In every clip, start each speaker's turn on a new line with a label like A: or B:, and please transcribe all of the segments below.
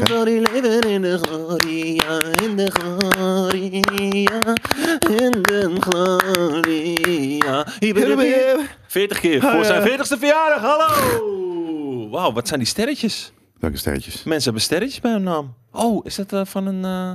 A: Glorie, leven in de gloria, in de gloria, in de gloria. Hier ben ik. 40 keer
B: Oh,
A: voor zijn 40ste verjaardag, hallo! Wauw, wat zijn die sterretjes?
B: Welke sterretjes?
A: Mensen hebben sterretjes bij hun naam. Oh, is dat eh, van een, eh,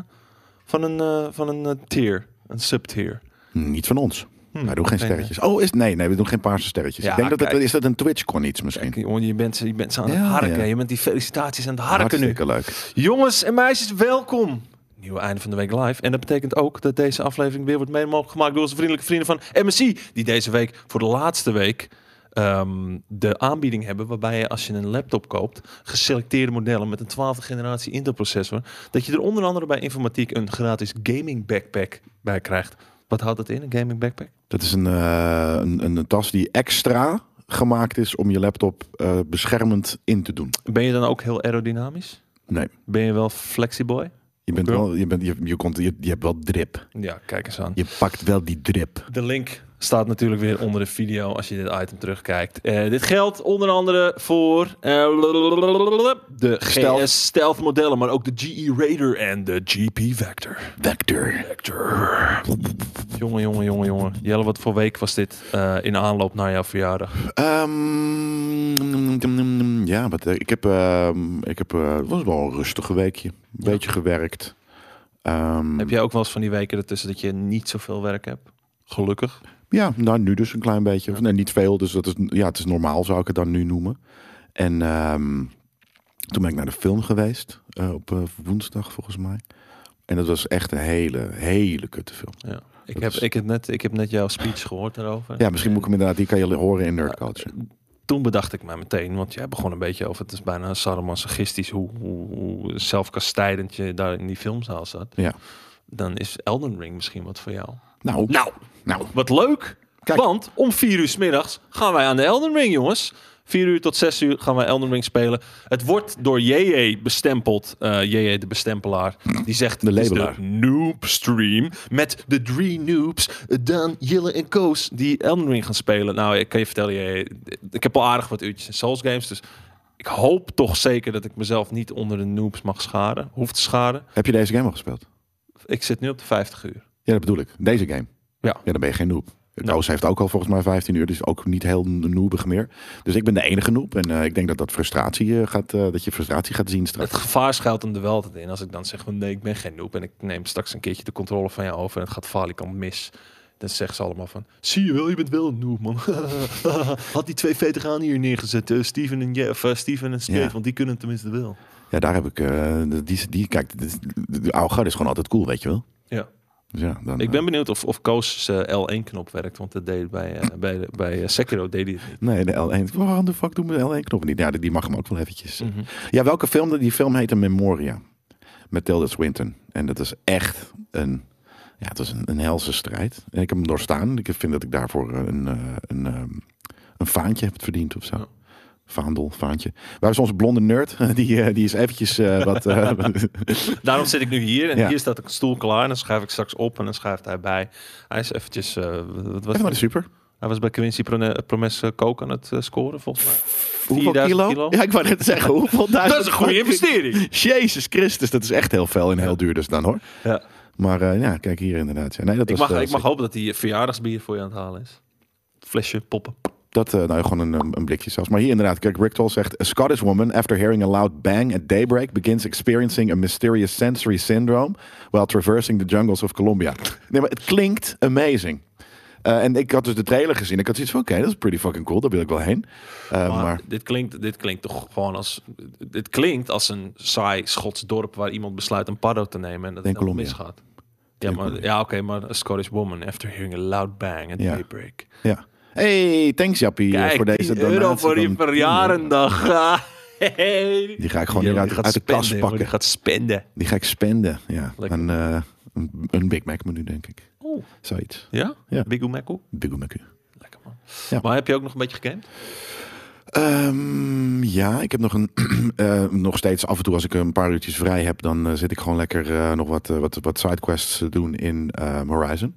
A: van een, eh, van een eh, tier? Een subtier?
B: Niet van ons. Wij doen geen
A: nee,
B: sterretjes. Oh, is, nee, nee, we doen geen paarse sterretjes.
A: Hmm, eh, Ja,
B: ik denk dat het,
A: kijk.
B: is dat een Twitch-con iets misschien.
A: Jongen, je bent, je bent ze aan het
B: Ja,
A: harken.
B: ja.
A: Je bent die felicitaties aan het harken
B: Hartstikke
A: nu.
B: leuk.
A: Jongens en meisjes, welkom. Nieuwe einde van de week live. En dat betekent ook dat deze aflevering weer wordt mede mogelijk gemaakt door onze vriendelijke vrienden van MSI. Die deze week voor de laatste week ehm, de aanbieding hebben. Waarbij je als je een laptop koopt, geselecteerde modellen met een 12e generatie Intel processor. Dat je er onder andere bij informatiek een gratis gaming backpack bij krijgt. Wat houdt dat in, een gaming backpack?
B: Dat is een, eh, een, een, een tas die extra gemaakt is om je laptop eh, beschermend in te doen.
A: Ben je dan ook heel aerodynamisch?
B: Nee,
A: Ben je wel flexiboy?
B: je, bent
A: Oké.
B: wel, je, bent, je, je, komt, je, je hebt wel drip.
A: Ja, kijk eens aan.
B: Je pakt wel die drip.
A: De link staat natuurlijk weer onder de video als je dit item terugkijkt. Eh, dit geldt onder andere voor eh, de
B: Stealth.
A: GS Stealth modellen, maar ook de GE Raider en de GP Vector.
B: Vector.
A: Vector. Jongen, jongen, jongen, jongen. Jelle, wat voor week was dit eh, in aanloop naar jouw verjaardag?
B: Ehm, ja, wat, eh, ik heb, ehm, ik heb eh, het was wel een rustige weekje. Een beetje gewerkt. Ehm,
A: Heb jij ook wel eens van die weken ertussen dat je niet zoveel werk hebt? Gelukkig.
B: Ja, nou nu dus een klein beetje. Of, nee, niet veel, dus dat is, ja, het is normaal zou ik het dan nu noemen. En ehm, toen ben ik naar de film geweest, eh, op eh, woensdag volgens mij. En dat was echt een hele, hele kutte film.
A: Ja. Ik,
B: Dat
A: heb,
B: is-
A: ik, heb net, ik heb net jouw speech gehoord daarover.
B: Ja, misschien moet ik hem inderdaad, die kan je horen in Nerd Culture.
A: toen bedacht ik mij meteen, want jij begon een beetje over, het is bijna sadomasochistisch hoe, hoe, hoe zelfkastijdend je daar in die filmzaal zat.
B: Ja.
A: Dan is Elden Ring misschien wat voor jou.
B: Nou,
A: Nou,
B: nou,
A: wat leuk!
B: Kijk.
A: Want om vier uur 's middags gaan wij aan de Elden Ring, jongens. Vier uur tot zes uur gaan wij Elden Ring spelen. Het wordt door JJ bestempeld. eh JJ de bestempelaar. Die zegt,
B: De
A: "Het is
B: labelaar."
A: noob stream met de drie noobs, eh, Dan, Jille en Koos, die Elden Ring gaan spelen. Nou, ik kan je vertellen, JJ, ik heb al aardig wat uurtjes in Souls games, dus ik hoop toch zeker dat ik mezelf niet onder de noobs mag schaden, hoef te schaden.
B: heb je deze game al gespeeld?
A: Ik zit nu op de 50 uur.
B: Ja, dat bedoel ik. Deze game.
A: Ja.
B: Ja, dan ben je geen noob.
A: Nee.
B: Koos heeft ook al volgens mij 15 uur, dus ook niet heel noobig meer. Dus ik ben de enige noob en eh, ik denk dat dat frustratie eh, gaat, eh, dat je frustratie gaat zien straks.
A: Het gevaar schuilt hem er wel altijd in. Als ik dan zeg, van, nee, ik ben geen noob en ik neem straks een keertje de controle van jou over en het gaat falikant mis. Dan zeggen ze allemaal van, zie je wel, je bent wel een noob, man. Had die twee vetig aan hier neergezet, eh, Steven en, Je- of, eh, Steven en Steve,
B: Ja.
A: want die kunnen het tenminste wel.
B: Ja, daar heb ik. eh, die, die, kijk, dit is- de, de oude garde is gewoon altijd cool, weet je wel.
A: Ja.
B: Dus ja, dan,
A: Ik ben benieuwd of, of Koos eh, L1-knop werkt, want dat deed bij, eh, bij, de- bij eh, Sekiro deed hij het niet.
B: eh, nee, de L1. Waarom de fuck doen we de L1-knop niet? Ja, die, die mag hem ook wel eventjes.
A: Mhm.
B: eh. Ja, welke film? Die film heette Memoria. Met Tilda Swinton. En dat is echt een. Ja, het was een, een helse strijd. En ik heb hem doorstaan. Ik vind dat ik daarvoor een, eh, een, ehm, een vaantje heb verdiend of zo.
A: Ja.
B: Vaandel, vaantje. Waar is onze blonde nerd? Die, eh, die is eventjes eh, wat... eh,
A: Daarom zit ik nu hier en
B: Ja.
A: hier staat een stoel klaar en dan schuif ik straks op en dan schuift hij bij. Hij is eventjes, eh, wat was
B: even naar
A: het?
B: de super.
A: Hij was bij Quincy Prone- Promes eh, Kook aan het eh, scoren, volgens mij.
B: Hoeveel
A: 4000
B: kilo?
A: kilo?
B: Ja, ik wou net zeggen, hoeveel duizend?
A: Dat is een goede investering.
B: Jezus Christus, dat is echt heel veel en
A: Ja.
B: heel duur dus dan hoor.
A: Ja.
B: Maar eh, ja, kijk hier inderdaad. Ja, nee, dat
A: Ik
B: was,
A: mag,
B: eh,
A: ik mag hopen dat die verjaardagsbier voor je aan het halen is. Flesje poppen.
B: Dat, eh, nou gewoon een, een blikje zelfs. Maar hier inderdaad, kijk, Richtol zegt... A Scottish woman, after hearing a loud bang at daybreak... begins experiencing a mysterious sensory syndrome... while traversing the jungles of Colombia. Nee, maar het klinkt amazing. Eh, en ik had dus de trailer gezien. Ik had zoiets van, oké, dat is pretty fucking cool. Daar wil ik wel heen. Eh,
A: Maar,
B: maar
A: Dit, klinkt, dit klinkt toch gewoon als... Dit klinkt als een saai Schots dorp waar iemand besluit een paddo te nemen en dat
B: In
A: het helemaal
B: Colombia.
A: misgaat. Ja,
B: In
A: maar,
B: Colombia.
A: ja oké, maar a Scottish woman after hearing a loud bang at
B: Ja.
A: daybreak.
B: ja. Hey, thanks Jappie eh,
A: Kijk,
B: voor deze
A: 10 euro
B: donatie
A: voor je
B: dan.
A: verjaardag. Hey.
B: Die ga ik gewoon
A: Ja,
B: hier
A: die
B: uit,
A: gaat
B: uit de
A: spenden,
B: kast
A: jongen,
B: pakken.
A: Die gaat spenden.
B: Die ga ik spenden. Ja.
A: Lekker.
B: Aan, eh, een, een Big Mac menu, denk ik.
A: Oh,
B: Zoiets.
A: ja?
B: Ja.
A: Big Oemekko?
B: Big Mac.
A: Lekker man.
B: Ja.
A: Maar heb je ook nog een beetje gegamed?
B: Ehm, ja, ik heb nog een. eh, nog steeds af en toe, als ik een paar uurtjes vrij heb, dan eh, zit ik gewoon lekker eh, nog wat, eh, wat, wat sidequests te doen in eh, Horizon.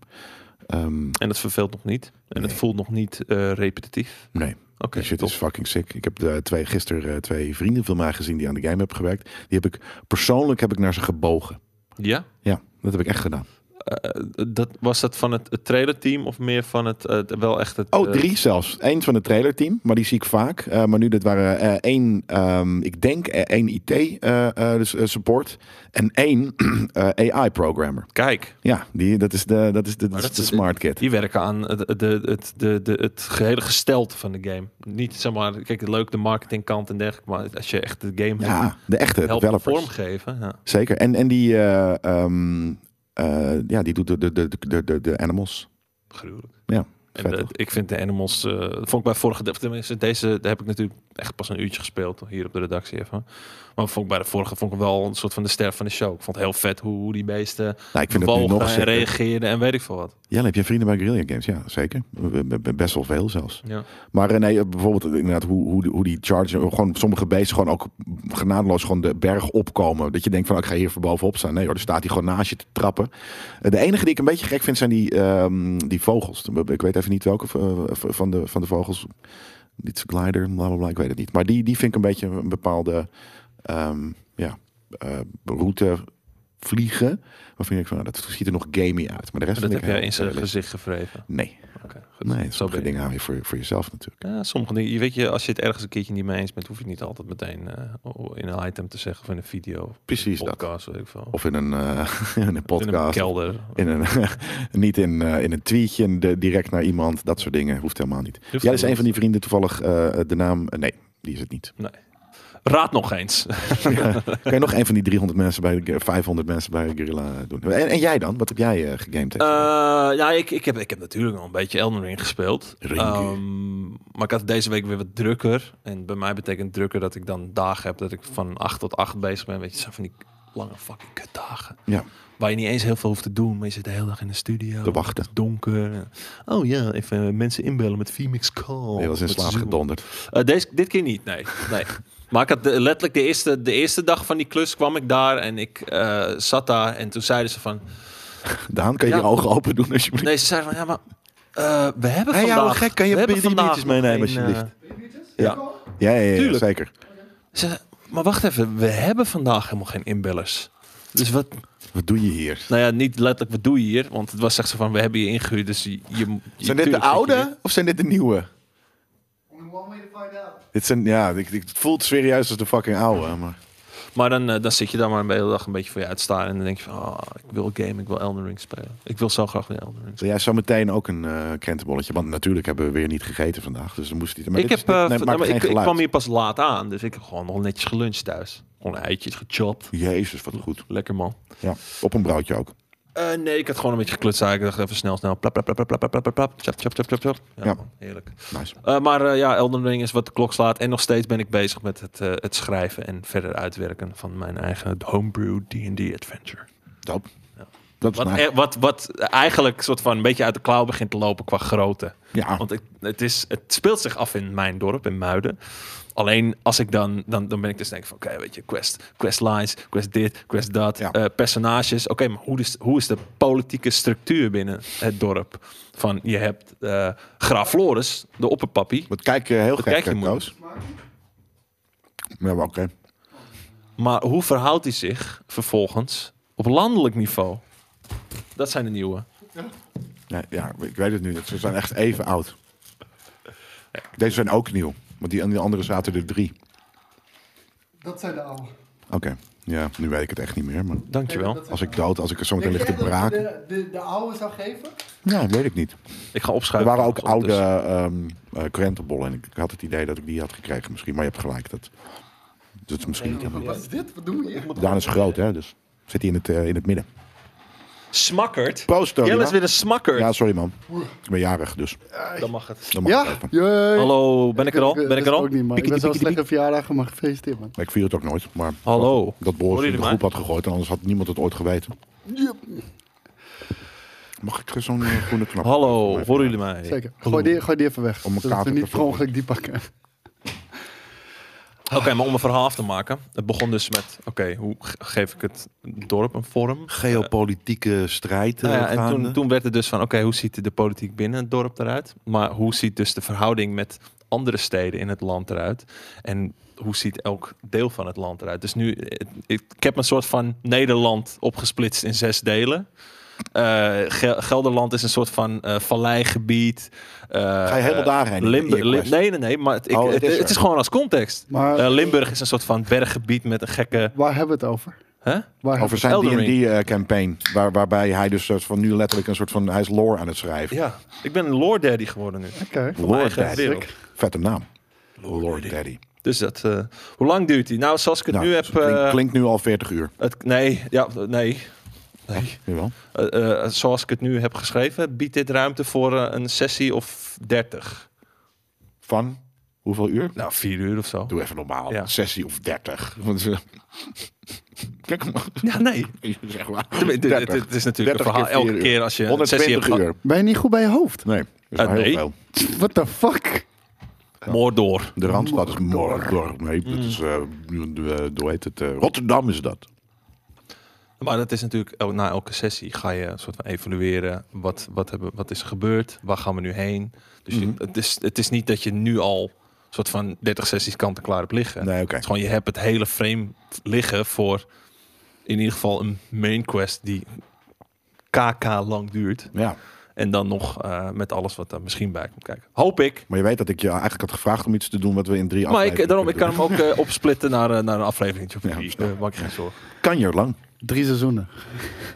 B: Eh, Ehm,
A: En het verveelt nog niet. En het voelt nog niet eh, repetitief.
B: nee.
A: Oké,
B: Die shit
A: top.
B: is fucking sick. Ik heb de twee, gisteren eh, twee vrienden van mij gezien die aan de game hebben gewerkt. Die heb ik persoonlijk heb ik naar ze gebogen.
A: Ja?
B: Ja, dat heb ik echt gedaan.
A: Eh, dat, was dat van het, het trailerteam of meer van het, eh, wel echt het...
B: Oh,
A: eh,
B: drie zelfs. Eén van het trailerteam, maar die zie ik vaak. Eh, maar nu, dit waren eh, één, ehm, ik denk eh, één IT eh, eh, dus, eh, support en één AI-programmer.
A: kijk,
B: Ja, die, dat is de, dat is de,
A: Maar
B: dat is de
A: dat-
B: smart kid.
A: die werken aan het, het- het- het, de, de, het gehele gestelte van de game. Niet zeg maar, kijk, leuk de marketingkant en dergelijke, maar als je echt de game
B: Ja, de echte
A: helpt
B: developers.
A: vormgeven. Ja.
B: Zeker. En, en die, eh, ehm, eh, ja, die doet de, de, de, de, de, de animals.
A: Gruwelijk.
B: Ja,
A: En
B: vet
A: de-
B: toch?
A: ik vind de Animals, eh, vond ik bij vorige, of tenminste deze daar heb ik natuurlijk echt pas een uurtje gespeeld hier op de redactie even. Maar vond ik bij de vorige vond ik wel een soort van de ster van de show. Ik vond het heel vet hoe, hoe die beesten
B: Nou, ik vind het nu
A: bewogen
B: nog
A: en
B: zeker.
A: reageerden en weet ik veel wat.
B: Jelle, heb je vrienden bij Guerrilla Games? Ja, zeker. B- b- b- Best wel veel zelfs.
A: Ja.
B: Maar eh, nee, eh, bijvoorbeeld eh, inderdaad hoe, hoe, die- hoe die charge, eh, gewoon sommige beesten gewoon ook genadeloos gewoon de berg opkomen. Dat je denkt van "Oh, ik ga hier voor bovenop staan. Nee hoor, er staat hij gewoon naast je te trappen. Eh, De enige die ik een beetje gek vind zijn die, ehm, die vogels. Ik weet even niet welke eh, van de, van de vogels. Iets glider, bla bla bla, ik weet het niet. Maar die, die vind ik een beetje een bepaalde ehm, ja, eh, route vliegen. Waarvan ik van, nou, dat ziet er nog gamey uit. Maar de rest
A: dat
B: vind
A: heb
B: ik
A: jij
B: heel
A: in zijn
B: realistisch.
A: gezicht gevreven.
B: Nee,
A: Oké, goed.
B: nee
A: Zo ben
B: sommige
A: je.
B: dingen hou je voor, voor jezelf natuurlijk.
A: Ja, sommige dingen. Je weet je, als je het ergens een keertje niet mee eens bent, hoef je het niet altijd meteen eh, in een item te zeggen of in een video. Of
B: Precies dat.
A: podcast, weet ik veel.
B: Of in een, eh, in een
A: in een
B: podcast. In
A: kelder.
B: een, niet in, eh, in een tweetje de, direct naar iemand. Dat soort dingen hoeft helemaal niet.
A: Hoeft
B: Jij is een
A: niet.
B: van die vrienden toevallig eh, de naam. eh, nee, die is het niet.
A: Raad nog eens.
B: Kan je nog een van die 300 mensen bij de- 500 mensen bij Gorilla doen? En, en jij dan? Wat heb jij eh, gegamed?
A: Eh, ja, ik, ik, heb, ik heb natuurlijk al een beetje Elden Ring gespeeld.
B: Ringu.
A: Ehm, maar ik had deze week weer wat drukker. En bij mij betekent drukker dat ik dan dagen heb dat ik van 8 tot 8 bezig ben. Weet je, zo van die lange fucking kutdagen.
B: Ja.
A: Waar je niet eens heel veel hoeft te doen, maar je zit de hele dag in de studio.
B: Te wachten.
A: Het is donker. Oh ja, even eh, mensen inbellen met Phoenix Call.
B: Je was in
A: Met
B: slaap
A: Zoom.
B: gedonderd.
A: Eh, deze, dit keer niet, nee. nee. Maar ik had de- letterlijk de eerste, de eerste dag van die klus kwam ik daar en ik eh, zat daar. En toen zeiden ze van...
B: Daan, kan je
A: Ja.
B: je ogen open doen alsjeblieft?
A: Nee, ze zeiden van ja, maar eh, we hebben
B: Hey, ouwe
A: vandaag...
B: gek, kan je
A: we hebben
B: drie
A: vandaag
B: biertjes meenemen,
A: nog geen,
B: alsjeblieft?
A: eh, ja.
B: Ja, ja, ja,
A: Tuurlijk.
B: zeker.
A: Ze zeiden, maar wacht even, we hebben vandaag helemaal geen inbellers. Dus wat,
B: Wat doe je hier?
A: nou ja, niet letterlijk wat doe je hier? Want het was echt zo van, we hebben je ingehuurd, dus je... je je-
B: Zijn dit de
A: tuurlijk zit je
B: oude of zijn dit de nieuwe?
C: Only one way to find out.
B: Dit zijn, ja, ik, ik, het voelt serieus als de fucking oude. Maar...
A: hier. Maar dan, eh, dan zit je daar maar de hele dag een beetje voor je uit te staan En dan denk je van, ah, ik wil game, ik wil Elden Ring spelen. Ik wil zo graag weer Elden Ring spelen.
B: Wil jij zo meteen ook een eh krentenbolletje? Want natuurlijk hebben we weer niet gegeten vandaag. Dus dan moest niet. Maar
A: ik,
B: dit
A: heb,
B: is- dit-
A: eh,
B: nee,
A: van- nou,
B: maakt
A: maar
B: geen
A: ik, ik
B: geluid.
A: kwam hier pas laat aan, dus ik heb gewoon nog netjes geluncht thuis. Gewoon eitjes gechopt.
B: Jezus, wat goed.
A: Lekker man.
B: Ja, op een broodje ook.
A: Eh, nee, ik had gewoon een beetje geklutst eigenlijk. Ik dacht even snel, snel. Plap, plap, plap, plap, plap, plap, plap, plap. Chap, chap, chap, chap, chap. Ja,
B: Ja.
A: man, heerlijk.
B: Nice.
A: Eh, maar eh, ja, Elden Ring is wat de klok slaat. En nog steeds ben ik bezig met het, eh, het schrijven en verder uitwerken van mijn eigen homebrew D&D adventure.
B: Doop.
A: Ja.
B: Dat is
A: Wat,
B: nice.
A: eh, wat, wat eigenlijk soort van een beetje uit de klauw begint te lopen qua grootte.
B: Ja,
A: Want ik, het, is, het speelt zich af in mijn dorp, in Muiden. Alleen als ik dan, dan, dan ben ik dus denk ik van, oké, weet je, quest, quest lines, quest dit, quest dat,
B: Ja.
A: eh, personages. Oké, maar hoe is, hoe is de politieke structuur binnen het dorp? Van, je hebt eh Graaf Floris, de opperpappie,
B: wat kijk je heel gek,
A: kijk je
B: eh,
A: moet-
B: Koos. Ja, maar oké.
A: maar hoe verhoudt hij zich vervolgens op landelijk niveau? Dat zijn de nieuwe.
B: Nee, ja, ik weet het nu. Ze zijn echt even oud. Deze zijn ook nieuw. Want die, en die andere zaten er drie.
C: Dat zijn de oude.
B: Oké. Ja, nu weet ik het echt niet meer. Maar
A: Dankjewel.
B: als ik dood, als ik er zo meteen
C: Denk
B: lig
C: je
B: te
C: echt dat je
B: braken.
C: de, de, de oude zou geven?
B: Ja, weet ik niet.
A: Ik ga
B: Er
A: opschuiven.
B: waren ook oude
A: ondertussen.
B: ehm eh, krentenbollen. En ik had het idee dat ik die had gekregen misschien. Maar je hebt gelijk. Dat, dat is misschien niet helemaal...
C: Wat is dit? Wat doen we hier?
B: Daan is groot, hè? Dus zit hij in het, eh, in het midden.
A: Smakkerd.
B: Proost, Tony,
A: Jelle is
B: ja.
A: weer een smakkerd.
B: Ja, sorry man. Ik ben jarig, dus
A: Dan mag het.
B: dan mag
C: Ja,
B: ik even.
C: jee.
A: Hallo, ben ik er al?
C: wist
A: Ben ik er
C: het
A: al?
C: ook niet, man. Ik ben zo slecht een verjaardag, maar gefeliciteerd, man.
B: Maar ik vier het ook nooit. Maar
A: Hallo.
B: dat Boris
A: Horen
B: in de
A: jullie
B: groep
A: mij?
B: had gegooid. En anders had niemand het ooit geweten.
C: Yep.
B: Mag ik er zo'n eh, groene knop?
A: Hallo, horen jullie mij?
C: Zeker. Gooi die, gooi die even weg.
B: Om elkaar
C: zodat we
B: te
C: niet per
B: vervroegen.
C: ongeluk die pakken.
A: Oké, maar om een verhaal af te maken. Het begon dus met, oké, hoe ge- geef ik het dorp een vorm?
D: Geopolitieke strijd eh,
A: Nou ja, en
D: gaande.
A: toen, toen werd het dus van, oké, hoe ziet de politiek binnen het dorp eruit? Maar hoe ziet dus de verhouding met andere steden in het land eruit? En hoe ziet elk deel van het land eruit? Dus nu, eh, ik, ik heb een soort van Nederland opgesplitst in zes delen. Eh, Gel- Gelderland is een soort van eh, valleigebied. Eh,
B: Ga je helemaal
A: eh,
B: daarheen? in
A: Limbu-
B: je
A: Lim-
B: quest?
A: nee, nee, nee, maar het, ik-
B: Oh, het
A: het,
B: is
A: het is,
B: er.
A: gewoon als context.
C: Maar
A: Eh, Limburg is een soort van berggebied met een gekke...
C: waar hebben we het over?
A: Hè?
C: Waar
B: Over zijn
A: Elden Ring.
B: D&D-campaign, eh, waar, waarbij hij dus soort van nu letterlijk een soort van... Hij is lore aan het schrijven.
A: Ja, ik ben een lore daddy geworden nu.
C: Oké.
A: Van mijn
B: Lore
A: eigen
B: daddy.
A: wereld.
B: Vette naam. Lord Daddy.
A: Dus dat, eh, hoe lang duurt die? Nou, zoals ik het
B: Nou,
A: nu heb.
B: dus het klink-
A: eh,
B: klinkt nu al 40 uur.
A: het, nee, ja, nee. nee.
B: Jawel.
A: Eh, eh, zoals ik het nu heb geschreven, biedt dit ruimte voor eh, een sessie of 30.
B: Van hoeveel uur?
A: Nou, vier uur of zo.
B: Doe even normaal.
A: Ja.
B: Sessie of 30. Want, eh, Kijk hem.
A: Ja, nee.
B: Zeg maar.
A: Het, het-
B: 30.
A: het is natuurlijk een
B: 30 keer
A: verhaal. Elke
B: vier uur.
A: keer als je een sessie hebt
B: 120
A: gehad.
B: uur.
C: Ben je niet goed bij je hoofd?
B: Nee, dat is
A: Eh,
B: maar heel
A: nee.
B: veel.
C: What the fuck?
A: Moordor.
B: De Randstad is Mordor. Nee,
A: Mm.
B: dat is, eh, eh, hoe heet het? eh, Rotterdam is dat.
A: Maar dat is natuurlijk, el- na elke sessie ga je een soort van evalueren. Wat, wat, hebben, wat is er gebeurd? Waar gaan we nu heen? Dus
B: Mhm.
A: je- het, is, het is niet dat je nu al een soort van 30 sessies kant en klaar hebt liggen.
B: Nee, oké.
A: Het is gewoon, je hebt het hele frame liggen voor in ieder geval een main quest die kk lang duurt.
B: Ja.
A: En dan nog eh, met alles wat daar misschien bij komt kijken. Hoop ik.
B: Maar je weet dat ik je eigenlijk had gevraagd om iets te doen wat we in drie
A: Maar ik,
B: afleveringen
A: daarom, ik
B: kunnen
A: kan hem ook eh, opsplitten naar, eh, naar een aflevering.
B: Ja, snap
A: eh, maak je geen zorgen.
B: doen. Kan je lang.
C: Drie seizoenen.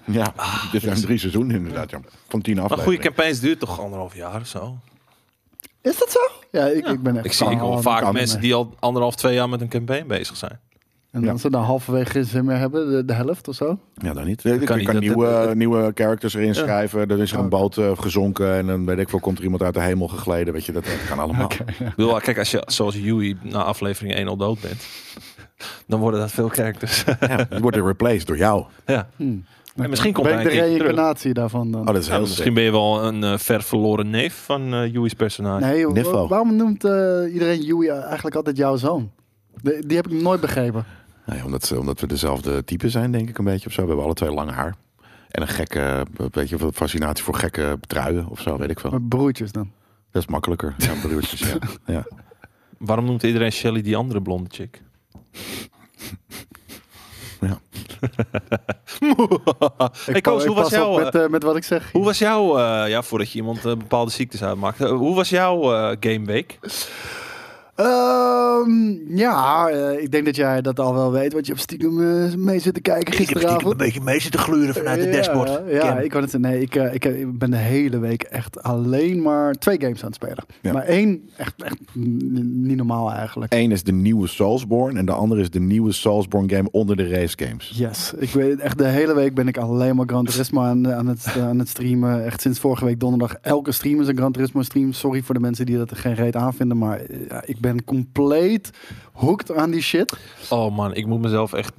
B: Ja, dit zijn drie seizoenen inderdaad. Ja. Van tien
A: Maar Ah, goede
B: afleveringen.
A: campagnes duurt toch anderhalf jaar of zo?
C: Is dat zo? Ja, ik, ik ben echt...
A: Ik zie ik hoor
C: al
A: vaak mensen die al anderhalf, twee jaar met een campaign bezig zijn.
C: En als ze dan halverwege geen zin meer hebben, de, de helft of zo.
B: Ja, dan niet. Je kan,
A: niet, dat-
B: nieuwe,
A: dat- dat-
B: nieuwe characters erin
A: Ja.
B: schrijven. Er is er een boot eh, gezonken en dan weet ik veel, komt er iemand uit de hemel gegleden. Weet je, dat, dat kan allemaal.
A: Ik bedoel, kijk, als je zoals Yui na aflevering 1 al dood bent, dan worden dat veel characters.
B: Ja, die worden replaced door jou. Oh,
A: ja. En misschien komt
C: ben
A: hij
C: ik
A: een
C: Hm. de
A: keer terug.
C: reïncarnatie daarvan dan?
B: Oh, dat is
A: Nou,
B: heel
A: misschien
B: misschien.
A: ben je wel een eh, ver verloren neef van eh Yui's personage.
C: nee, joh,
B: Niffo.
C: wa- waarom noemt eh, iedereen Joey eigenlijk altijd jouw zoon? De- die heb ik nooit begrepen.
B: Nee, omdat, ze- omdat we dezelfde type zijn, denk ik een beetje of zo. We hebben alle twee lang haar. En een gekke, eh, weet je, fascinatie voor gekke truien of zo, weet ik veel.
C: Maar broertjes dan.
B: Dat is makkelijker. Ja, broertjes, ja. ja.
A: Waarom noemt iedereen Shelly die andere blonde chick?
B: Ja.
A: hey Koos,
C: pa-
A: hoe, was
C: pas op
A: jouw, eh,
C: Met, eh, met wat ik zeg.
A: hoe was jouw... eh, ja, voordat je iemand eh, bepaalde ziektes uitmaakt. eh, hoe was jouw eh, gameweek?
C: Ehm, ja, eh, ik denk dat jij dat al wel weet, want je hebt stiekem eh, mee zitten kijken gisteravond.
D: beetje mee zitten gluren
C: ja, Ja, ik kan het Nee, ik, eh, ik, eh, ik ben de hele week echt alleen maar twee games aan het spelen.
B: Ja.
C: Maar één, echt, echt n- niet normaal eigenlijk.
B: Eén is de nieuwe Soulsborne en de andere is de nieuwe Soulsborne game onder de race games.
C: Yes, ik weet echt de hele week ben ik alleen maar Gran Turismo aan, aan, het, eh, aan het streamen. Echt sinds vorige week donderdag. Elke stream is een Gran Turismo stream. Sorry voor de mensen die dat er geen reet aan vinden, maar eh, ja, ik ben compleet hooked aan die shit.
A: Oh man, ik moet mezelf echt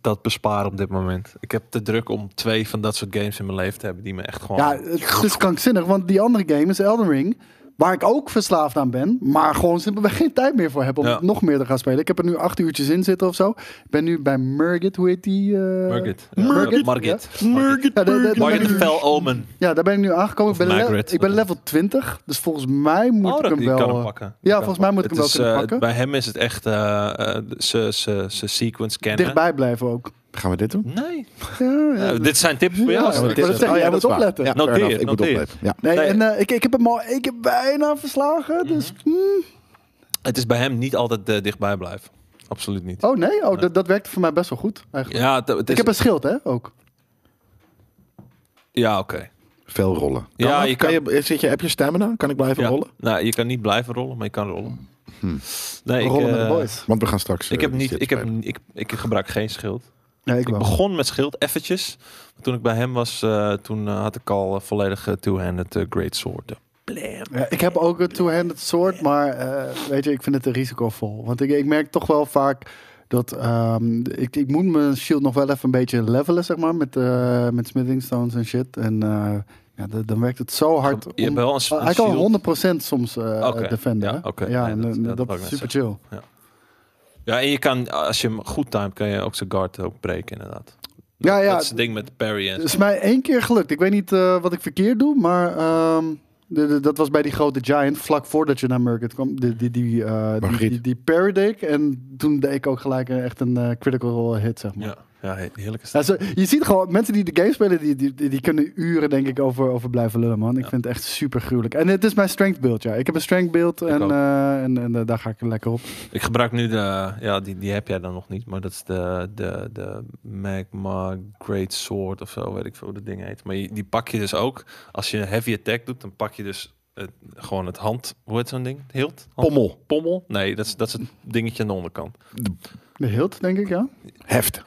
A: dat besparen op dit moment. Ik heb te druk om twee van dat soort games in mijn leven te hebben die me echt gewoon...
C: Ja, het is krankzinnig, want die andere game is Elden Ring. Waar ik ook verslaafd aan ben, maar gewoon simpelweg geen tijd meer voor heb om
A: Ja.
C: het nog meer te gaan spelen. Ik heb er nu acht uurtjes in zitten of zo. Ik ben nu bij Murgit, hoe heet die? eh?
A: Margit. Ja,
C: Murgit.
A: Margit.
C: Ja, daar- daar- daar ben
A: Margit
C: ik-
A: Fel Omen.
C: Ja, daar ben ik nu aangekomen. Ik
A: Of
C: ben, le-
A: Margaret.
C: ik ben level 20, dus volgens mij moet
A: Oh,
C: ik
A: dat-
C: hem
A: je
C: wel...
A: kan hem
C: eh,
A: pakken.
C: Ja, volgens mij moet ik hem wel
A: Het is,
C: kunnen
A: eh,
C: pakken.
A: Bij hem is het echt eh, eh, ze ze ze sequence kennen.
C: Dichtbij blijven ook.
B: Gaan we dit doen? Oh,
A: Nee.
C: Ja, ja.
A: Eh, dit zijn tips voor
C: Ja,
A: jou.
C: maar
A: straks.
C: dit is- zeggen, jij moet
B: dat is waar.
C: opletten.
B: Ja, fair
A: Noteer,
B: enough. Ik moet
A: noteer.
B: opletten. Ja.
C: Nee,
A: Nee. Mhm.
C: En, eh, ik, ik heb hem al één keer bijna verslagen. Dus, mm.
A: Het is bij hem niet altijd eh, dichtbij blijven. Absoluut niet.
C: Oh nee, oh, dat, dat werkte voor mij best wel goed eigenlijk.
A: Ja, het, het is,
C: ik heb een schild, hè, ook.
A: ja oké.
B: Veel rollen.
A: Ja,
B: Kan-
A: je
B: kan je, zit je, heb je stamina? Kan ik blijven
A: Ja. Hm.
B: rollen?
A: Nou, je kan niet blijven rollen, maar je kan rollen. Nee,
C: Rollen
A: ik,
C: met de
A: eh,
C: boys.
B: Want we gaan straks.
A: Ik
B: eh,
A: heb
B: die
A: niet,
B: shit
A: ik, heb,
B: spelen.
A: ik, ik gebruik geen schild.
C: Nee, ik
A: Ik
C: wel.
A: begon met schild eventjes. Maar toen ik bij hem was, eh, toen eh, had ik al eh, volledig eh, two-handed eh, great sword.
C: Ja, ik heb ook een two-handed sword, maar eh, weet je, ik vind het te risicovol. Want ik, ik merk toch wel vaak dat ehm, ik, ik moet mijn shield nog wel even een beetje levelen, zeg maar, met, eh, met smithing stones en shit. En eh, ja, d- dan werkt het zo hard.
A: Je hebt
C: om-
A: wel een, s- een
C: hij kan
A: shield.
C: 100% soms eh
A: Oké,
C: defenden.
A: ja,
C: hè?
A: oké.
C: Ja,
A: Nee,
C: en,
A: dat-
C: eh,
A: ja, dat
C: dat,
A: wou ik
C: is
A: net
C: super chill.
A: Ja, en je kan, als je hem goed timed, kan je ook zijn guard ook breken inderdaad.
C: Ja, ja. Dus-
A: Dat is het ding met parry en
C: Het is mij één keer gelukt. Ik weet niet eh, wat ik verkeerd doe, maar ehm, de- de- dat was bij die grote giant vlak voordat je naar Murkit kwam. Die, die, die, eh, die,
B: Margriet.
C: die, die parry deed ik en toen deed ik ook gelijk een- echt een eh, critical hit, zeg maar.
A: Ja, ja he- heerlijk is
C: Ja,
A: dat.
C: zo- je ziet gewoon, mensen die de game spelen, die, die, die, die kunnen uren denk ik over, over blijven lullen, man. Ik
A: Ja.
C: vind het echt super gruwelijk. En het is mijn strength build, ja. Ik heb een strength build en,
A: ook.
C: eh, en, en eh, daar ga ik lekker op.
A: Ik gebruik nu de, ja, die, die heb jij dan nog niet, maar dat is de, de, de Magma Great Sword of zo, weet ik veel hoe dat ding heet. Maar je- die pak je dus ook, als je een heavy attack doet, dan pak je dus het, gewoon het hand, hoe heet zo'n ding? Hilt? Hand-
B: Pommel.
A: Pommel? Nee, dat is, dat is het dingetje aan de onderkant.
C: De hilt, denk ik, ja.
B: Heft.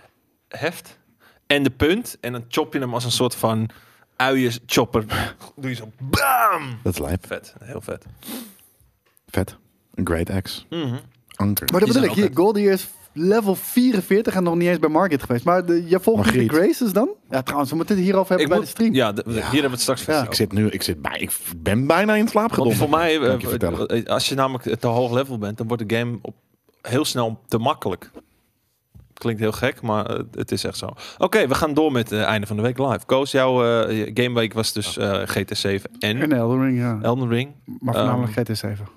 A: Heft en de punt en dan chop je hem als een soort van uienchopper. Doe je zo, bam!
B: Dat is lijp.
A: Vet, heel vet.
B: Vet. Een great axe.
A: Mhm.
B: Anker.
C: Maar dat
A: Die
C: bedoel
A: zijn
C: ik, hier,
A: altijd-
C: Goldie is level 44 en nog niet eens bij Market geweest. Maar de, je volgt niet de
B: Margriet.
C: Graces dan? Ja, trouwens, we moeten het hierover hebben
A: Ik
C: bij
A: moet-
C: de stream.
A: Ja, de- hier hebben we het straks
C: Ja.
A: ja.
B: Ik zit nu, ik zit bij, ik ben bijna in slaap
A: Want
B: gedonderd.
A: voor mij, eh,
B: Dank je vertellen.
A: eh, als je namelijk te hoog level bent, dan wordt de game op heel snel te makkelijk. Klinkt heel gek, maar eh, het is echt zo. Oké, we gaan door met het einde van de week live. Koos, jouw eh, gameweek was dus eh, GT7 en
C: En eh, Elden Ring, ja.
A: Elden Ring.
C: Maar voornamelijk
A: Ehm.
C: GT7.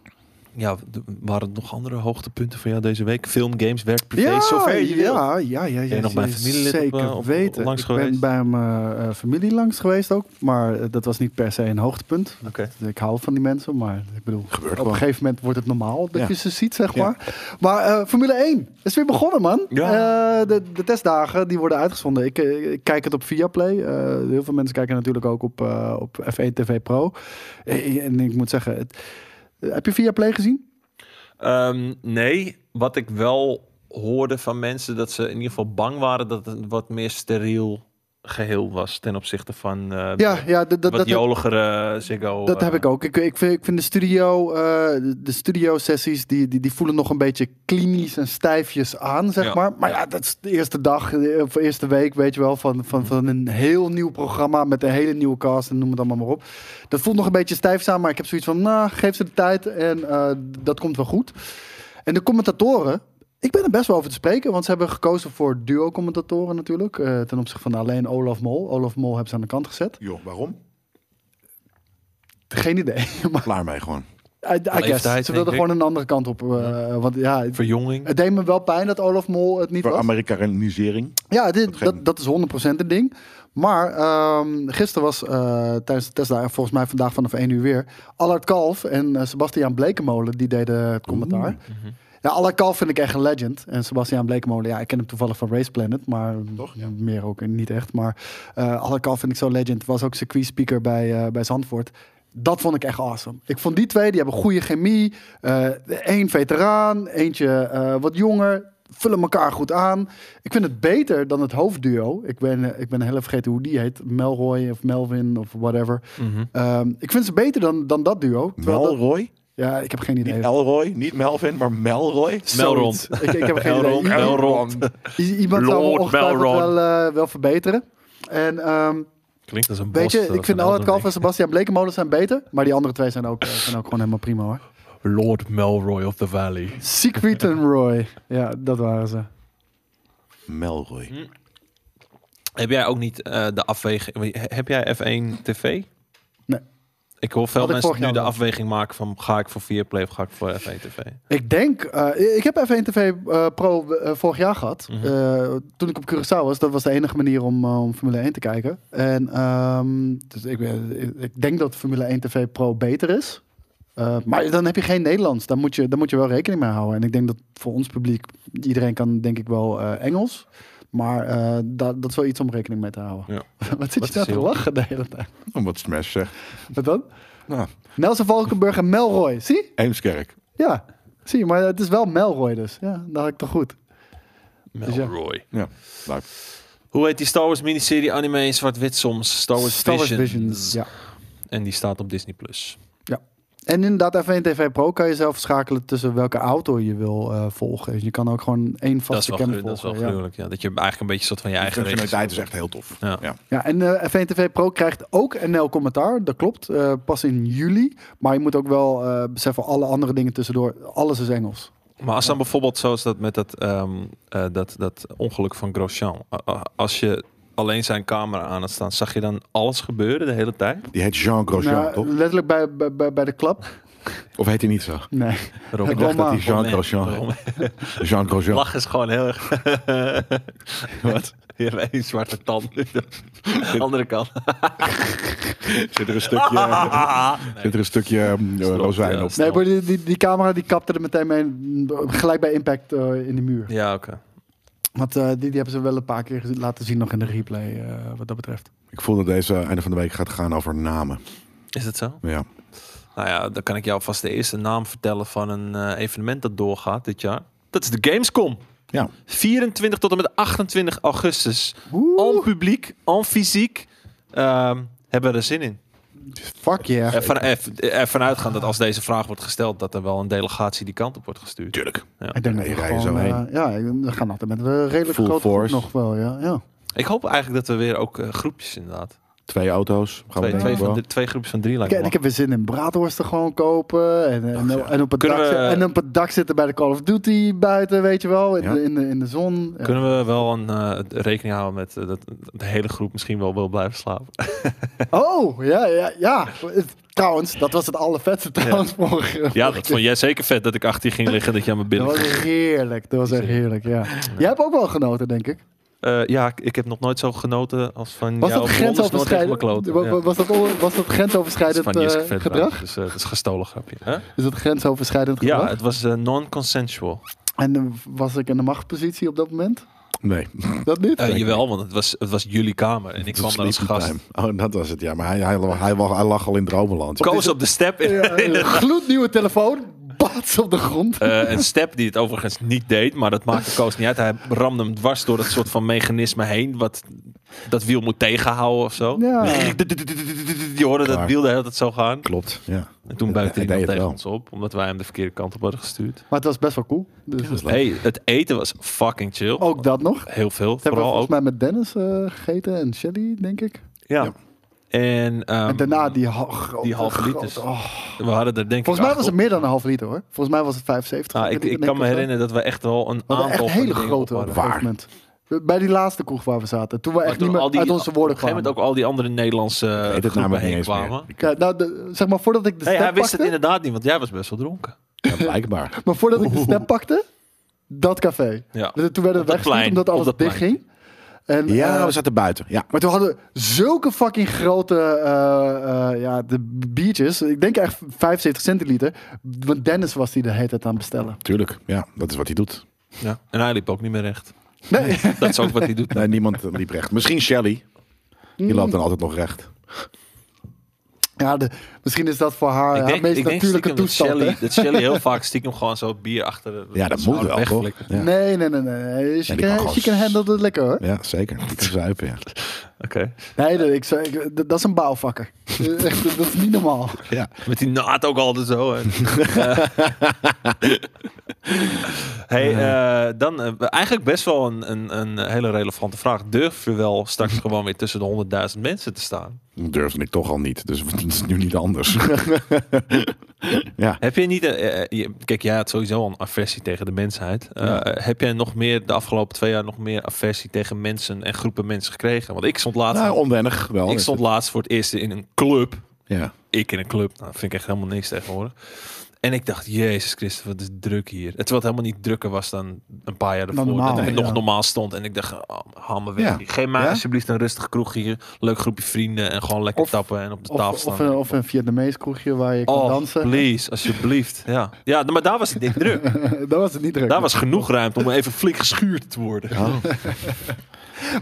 A: Ja, d- waren er nog andere hoogtepunten voor jou deze week? Film, games, werk, privé,
C: ja,
A: zover je wil.
C: ja, ja, ja, ja.
A: je nog bij
C: ja,
A: familielid op,
C: Zeker
A: eh, op-
C: weten.
A: langs
C: ik ben
A: geweest?
C: bij mijn eh, familie langs geweest ook. Maar eh, dat was niet per se een hoogtepunt.
A: Oké.
C: Ik hou van die mensen, maar ik bedoel,
B: Gebeurt
C: op een
B: gewoon.
C: gegeven moment wordt het normaal dat
B: Ja.
C: je ze ziet, zeg
B: Ja.
C: maar. Maar eh, Formule 1 is weer begonnen, man.
A: Ja.
C: Eh, de, de testdagen die worden uitgezonden. Ik, eh, ik kijk het op Viaplay. Eh, heel veel mensen kijken natuurlijk ook op, eh, op F1 TV Pro. Eh, en ik moet zeggen, het, eh, heb je Viaplay gezien?
A: Ehm, nee, wat ik wel hoorde van mensen dat ze in ieder geval bang waren dat het een wat meer steriel geheel was ten opzichte van eh,
C: Ja, ja d- d- dat,
A: wat
C: dat,
A: joligere eh, Ziggo.
C: Dat heb ik ook. Ik, ik, vind, ik vind de studio, eh, de- de studio sessies, die, die, die voelen nog een beetje klinisch en stijfjes aan, zeg
A: Ja.
C: maar. Maar ja, dat is de eerste dag, eh, of eerste week, weet je wel, van, van, van een heel nieuw programma met een hele nieuwe cast en noem het allemaal maar op. Dat voelt nog een beetje stijf aan, maar ik heb zoiets van, nou, geef ze de tijd en eh, dat komt wel goed. En de commentatoren, ik ben er best wel over te spreken, want ze hebben gekozen voor duo-commentatoren natuurlijk, eh, ten opzichte van alleen Olaf Mol. Olaf Mol hebben ze aan de kant gezet.
B: Joh, waarom?
C: Geen idee, maar
B: Klaar mee gewoon.
C: I, I guess.
A: Leeftijd,
C: Ze
A: denk
C: wilden
A: ik.
C: gewoon een andere kant op. eh, Want ja, het-
A: Verjonging.
C: het deed me wel pijn dat Olaf Mol het niet
B: Voor
C: was.
B: Amerikanisering.
C: Ja, dit,
B: geen-
C: dat, dat is 100% een ding. Maar ehm, gisteren was eh, tijdens de Tesla, en volgens mij vandaag vanaf 1 uur weer, Allard Kalf en eh, Sebastiaan Blekemolen, die deden het commentaar. Ja, Allard Kalf vind ik echt een legend. En Sebastiaan Blekemolen, ja, ik ken hem toevallig van Race Planet, maar
B: Toch?
C: ja, meer ook niet echt. Maar eh Allard Kalf vind ik zo legend. Was ook circuit speaker bij, eh bij Zandvoort. Dat vond ik echt awesome. Ik vond die twee, die hebben goede chemie. Eén veteraan, eentje eh, wat jonger. Vullen elkaar goed aan. Ik vind het beter dan het hoofdduo. Ik ben, eh, ik ben heel even vergeten hoe die heet. Melroy of Melvin of whatever. Ehm, ik vind ze beter dan, dan dat duo. Terwijl dat-
B: Melroy?
C: ja, ik heb geen idee.
B: Niet Elroy, niet Melvin, maar Melroy.
A: Melrond.
C: Zoiets. Ik, ik heb geen idee.
A: Melrond,
C: Iemand-
A: Melrond.
C: I- Iemand zou me
A: Lord
C: ongetwijfeld
A: Melron.
C: wel, eh, wel verbeteren. En ehm,
A: Klinkt als een
C: weet
A: bos,
C: je,
A: eh,
C: ik
A: van
C: vind Allard
A: Elden
C: Kalf en Sebastian Blekemolen zijn beter. Maar die andere twee zijn ook, eh, zijn ook gewoon helemaal prima hoor.
A: Ring. Lord Melroy of the Valley.
C: Siegfried en Roy. Ja, dat waren ze.
B: Melroy.
A: Mhm. Heb jij ook niet eh, de afweging... Heb jij F1 TV?
C: Nee.
A: Ik hoor veel
C: Had ik
A: mensen
C: vorig
A: nu de
C: jaar wel.
A: afweging maken van... ga ik voor Viaplay of ga ik voor F1 TV?
C: Ik denk, eh, ik heb F1 TV eh, Pro eh, vorig jaar gehad.
A: Mhm.
C: Eh, toen ik op Curaçao was, dat was de enige manier om, eh, om Formule 1 te kijken. En ehm, dus ik, ben- ik denk dat Formule 1 TV Pro beter is. Eh, maar dan heb je geen Nederlands. Daar moet, je, daar moet je wel rekening mee houden. En ik denk dat voor ons publiek, iedereen kan denk ik wel eh, Engels. Maar eh, dat, dat is wel iets om rekening mee te houden.
A: Ja.
C: Wat
A: Wat
C: zit je nou
A: is
C: te
A: heel-
C: lachen de hele tijd?
B: Om Oh, wat Smash zegt.
C: Wat dan?
B: Nou,
C: Nelson Valkenburg en Melroy. Zie?
B: Eemskerk.
C: Ja. Zie je, maar het is wel Melroy dus. Ja, dat had ik toch goed. Dus ja.
A: Melroy.
B: Ja, lijp.
A: Hoe heet die Star Wars miniserie anime in zwart-wit soms? Star Wars, Visions.
C: Ja.
A: En die staat op Disney+. Plus.
C: En inderdaad, F1 TV Pro kan je zelf schakelen tussen welke auto je wil eh, volgen. Dus je kan ook gewoon één
A: Dat is
C: vaste
A: wel,
C: cam
A: gru- dat is wel
C: volgen. ja.
A: gruwelijk, ja. Dat je eigenlijk een beetje soort van je
B: De
A: eigen regels...
B: functionaliteit is echt heel tof.
A: Ja.
C: Ja, en eh, F1 TV Pro krijgt ook NL-commentaar. Dat klopt, eh, pas in juli. Maar je moet ook wel eh, beseffen, alle andere dingen tussendoor, alles is Engels.
A: Maar als dan bijvoorbeeld zoals dat met dat, ehm, eh, dat, dat ongeluk van Grosjean. A- a- als je alleen zijn camera aan had staan, zag je dan alles gebeuren de hele tijd?
B: Die heet Jean Grosjean,
C: Nou,
B: toch?
C: letterlijk bij, bij- bij, bij de klap.
B: Of heet hij niet zo?
C: Nee.
A: Rob,
C: Ik
B: dacht dat
C: Romain.
B: hij Jean
A: Romain.
B: Grosjean
A: Romain.
B: heet. Jean Grosjean.
A: Oh, Lach is gewoon heel erg.
B: Wat?
A: Je hebt één zwarte tand. Andere kant.
B: Zit er een stukje, zit er een stukje ehm,
A: Strop,
B: rozijn
A: ja.
B: op?
C: Nee, maar die, die, die camera die kapte er meteen mee. mm, Gelijk bij impact eh, in de muur.
A: Ja, oké.
C: Want eh, die, die hebben ze wel een paar keer gezien- laten zien nog in de replay, eh, wat dat betreft.
B: Ik voel dat deze einde van de week gaat gaan over namen.
A: Is het zo?
B: Ja.
A: Nou ja, dan kan ik jou vast de eerste naam vertellen van een eh, evenement dat doorgaat dit jaar. Dat is de Gamescom.
B: ja.
A: 24 tot en met 28 augustus. Al publiek, al fysiek. ehm, hebben we er zin in.
C: Fuck yeah.
A: Ervan, er- ervan uitgaan dat als deze vraag wordt gesteld, dat er wel een delegatie die kant op wordt gestuurd. Tuurlijk.
C: Ik denk dat
B: Nee,
C: we
B: rij je
C: gewoon,
B: zo heen.
C: eh, ja, we gaan altijd met een redelijk
B: Full
C: grote groep
B: force.
C: nog wel, ja. ja.
A: Ik hoop eigenlijk dat we weer ook eh, groepjes inderdaad.
B: Twee auto's.
A: Twee,
B: Gaan we
A: twee,
B: denken
A: van,
B: wel.
A: de- twee groepjes van drie
C: Ik,
A: lijken.
C: en ik heb weer zin in braadworsten gewoon kopen. En, en, en, op het dak,
A: Kunnen we-
C: zitten- en op het dak zitten bij de Call of Duty buiten, weet je wel. In,
B: Ja.
C: de, in, de, in de zon. Ja.
A: Kunnen we wel een, eh, rekening houden met eh, dat de hele groep misschien wel wil blijven slapen?
C: Oh, ja, ja, ja. Het- Trouwens, dat was het allervetste trouwens morgen.
A: Ja, dat vond jij zeker vet dat ik achter je ging liggen dat jij me
C: Dat
A: binnen.
C: was heerlijk. Dat was echt heerlijk, ja. Jij hebt ook wel genoten, denk ik.
A: Eh, ja, ik, ik heb nog nooit zo genoten als van
C: Was
A: jou.
C: dat
A: op Londen is nooit echt mijn
C: grensoverschrijdend?
A: kloten.
C: wa-
A: Ja.
C: wa- Was dat, on- was dat
A: Dat is
C: grensoverschrijdend
A: van Jiske
C: eh,
A: Vet trouwens,
C: gedrag?
A: Dus, eh, dat is een gestolen grapje. Hè?
C: Is dat grensoverschrijdend
A: Ja,
C: gedrag?
A: het was eh, non-consensual.
C: En eh, was ik in de machtspositie op dat moment?
B: Nee.
C: Dat niet?
A: Eh, jawel, want het was, het was jullie kamer en ik kwam daar als gast.
B: Sleepytime. Oh, dat was het, ja. Maar hij, hij, hij, lag- hij lag al in dromenland.
A: Koos op de step. In,
C: Ja, een gloednieuwe telefoon. Bats op de grond.
A: Eh, een step die het overigens niet deed, maar dat maakte Koos niet uit. Hij ramde hem dwars door dat soort van mechanisme heen, wat dat wiel moet tegenhouden of zo.
C: Ja.
A: Je hoorde dat
B: Klaar.
A: wiel de hele tijd zo gaan.
B: Klopt, ja.
A: En toen buikte
B: Hij
A: hij nog
B: deed het
A: tegen
B: wel.
A: ons op, omdat wij hem de verkeerde kant op hadden gestuurd.
C: Maar het was best wel cool. Dus eh,
B: Dat is leuk.
A: Hey, het eten was fucking chill.
C: ook dat nog. Dat
A: Heel veel,
C: Oh. hebben we
A: vooral
C: volgens
A: ook.
C: mij met Dennis eh, gegeten en Shelly, denk ik.
A: Ja.
B: Ja.
A: En, ehm,
C: en daarna die, ha grote,
A: die halve
C: grote-
A: liters.
C: oh.
A: we hadden er denk
C: Volgens mij
A: ik...
C: was het meer dan een half liter hoor. Volgens mij was het 75.
A: Ah, ik, ik kan me herinneren dat we echt wel een
C: We hadden
A: aantal
C: echt
A: van
C: hele
A: die dingen
C: grote
A: op
C: op
A: hadden.
C: een
B: Waar?
C: gegeven moment. Bij die laatste kroeg waar we zaten. Toen we
A: Maar
C: echt
A: toen
C: niet meer
A: al die-
C: uit onze
A: Op
C: woorden
A: een gegeven
C: kwamen.
A: moment ook al die Nederlandse
B: Ik weet
A: eh,
B: het
A: groepen
B: namelijk niet
A: heen
B: eens
A: kwamen.
B: meer.
C: Ja, nou, de- zeg maar voordat ik de
A: Nee,
C: step
A: hij wist het
C: pakte.
A: inderdaad niet, want jij was best wel dronken.
B: Ja, blijkbaar.
C: Maar voordat ik de step pakte, dat café.
A: Ja.
C: Dus
A: Op
C: Toen werden we
A: dat
C: weggestuurd
A: plein,
C: omdat
A: op
C: alles
A: dat
C: dicht
A: plein.
C: ging. En,
B: Ja,
C: eh,
B: we zaten buiten. Ja.
C: maar toen hadden we zulke fucking grote eh, eh, ja, de biertjes. Ik denk echt 75 centiliter. Want Dennis was die de hele tijd aan het bestellen.
B: Tuurlijk, ja, dat is wat hij doet.
A: Ja. En hij liep ook niet meer recht.
C: Nee.
A: Dat is ook wat hij doet.
B: Nee, niemand liep recht. Misschien Shelly. Die loopt dan altijd nog recht.
C: Ja, de, misschien is dat voor haar
A: ik
C: haar
A: denk,
C: meest
A: ik denk stiekem
C: natuurlijke
A: dat
C: toestand. hè?
A: Shelly, dat Shelly heel vaak stiekem gewoon zo bier achter de
B: Ja, dat moet
A: schouder
B: wel, toch?
A: wegflikkert.
B: Ja,
C: Nee, nee, nee. nee. She,
B: die kan
C: can,
B: gewoon
C: she can handle het lekker hoor.
B: ja zeker. Die kan zuipen, ja.
A: Oké.
C: Nee, dat, ik, zou- ik- dat dat is een bouwvakker. Echt, dat is niet normaal.
B: ja.
A: Met die naad ook altijd zo. hè. Eh. hey, eh, dan eh, eigenlijk best wel een, een, een hele relevante vraag. Durf je wel straks gewoon weer tussen de 100.000 mensen te staan?
B: Durfde ik toch al niet. Dus het is nu niet anders. ja.
A: Heb je niet... eh, eh, je- kijk, jij had sowieso al een aversie tegen de mensheid. Eh, Heb jij nog meer de afgelopen twee jaar nog meer aversie tegen mensen en groepen mensen gekregen? Want ik stond laatst,
B: Nou, onwennig wel.
A: ik stond laatst voor het eerst in een club.
B: Ja.
A: ik in een club. Nou, vind ik echt helemaal niks tegenwoordig. En ik dacht, Jezus Christus, wat is druk hier. Het wat helemaal niet drukker was dan een paar jaar ervoor.
C: normaal,
A: dat het
C: ja.
A: nog normaal stond. En ik dacht, oh, haal me weg.
B: Ja.
A: hier. Geef mij
B: Ja?
A: alsjeblieft een rustig kroegje. Leuk groepje vrienden. En gewoon lekker
C: Of-
A: tappen en op de tafel
C: Of,
A: staan.
C: of, een, of een Vietnamees kroegje waar je kan
A: oh,
C: dansen.
A: please, alsjeblieft. Ja. ja, maar daar was het niet druk.
C: dat was het niet druk.
A: Daar was genoeg ruimte om even flink geschuurd te worden.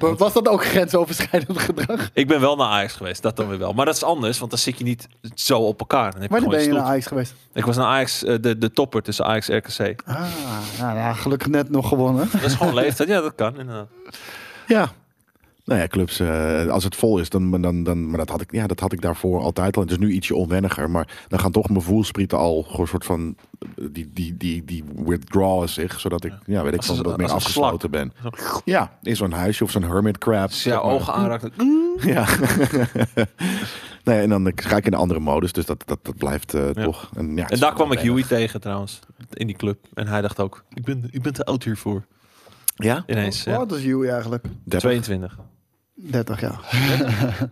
C: Maar was dat ook grensoverschrijdend gedrag?
A: Ik ben wel naar Ajax geweest, dat dan weer wel. Maar dat is anders, want dan zit je niet zo op elkaar. Dan heb je
C: Wanneer
A: gewoon
C: ben je naar
A: stoeltje.
C: Ajax geweest?
A: Ik was naar Ajax, eh, de, de topper tussen Ajax en RKC.
C: Ah, nou ja, gelukkig net nog gewonnen.
A: Dat is gewoon leeftijd. Ja, dat kan inderdaad.
B: Ja. Nou ja, clubs, eh, als het vol is, dan, dan, dan maar dat had, ik, ja, dat had ik daarvoor altijd al. Het is nu ietsje onwenniger, maar dan gaan toch mijn voelsprieten al gewoon een soort van, eh, die, die, die, die withdrawen zich, zodat ik, ja, weet ik
A: Als
B: van,
A: een-
B: dat meer
A: als een
B: afgesloten ben. Ja, in zo'n huisje of zo'n hermit crab.
A: Als je jouw ogen aanraakt, dan-
B: Ja. Nee, en dan ga ik in een andere modus. Dus dat, dat, dat blijft eh,
A: Ja.
B: toch. En, ja, het
A: En
B: is
A: daar kwam ik
B: wel-
A: Huey tegen trouwens, in die club. En hij dacht ook, ik ben, ik ben te oud hiervoor.
B: Ja?
A: Ineens, ja.
C: Wat Oh, is Huey eigenlijk?
A: 22.
C: 30 jaar.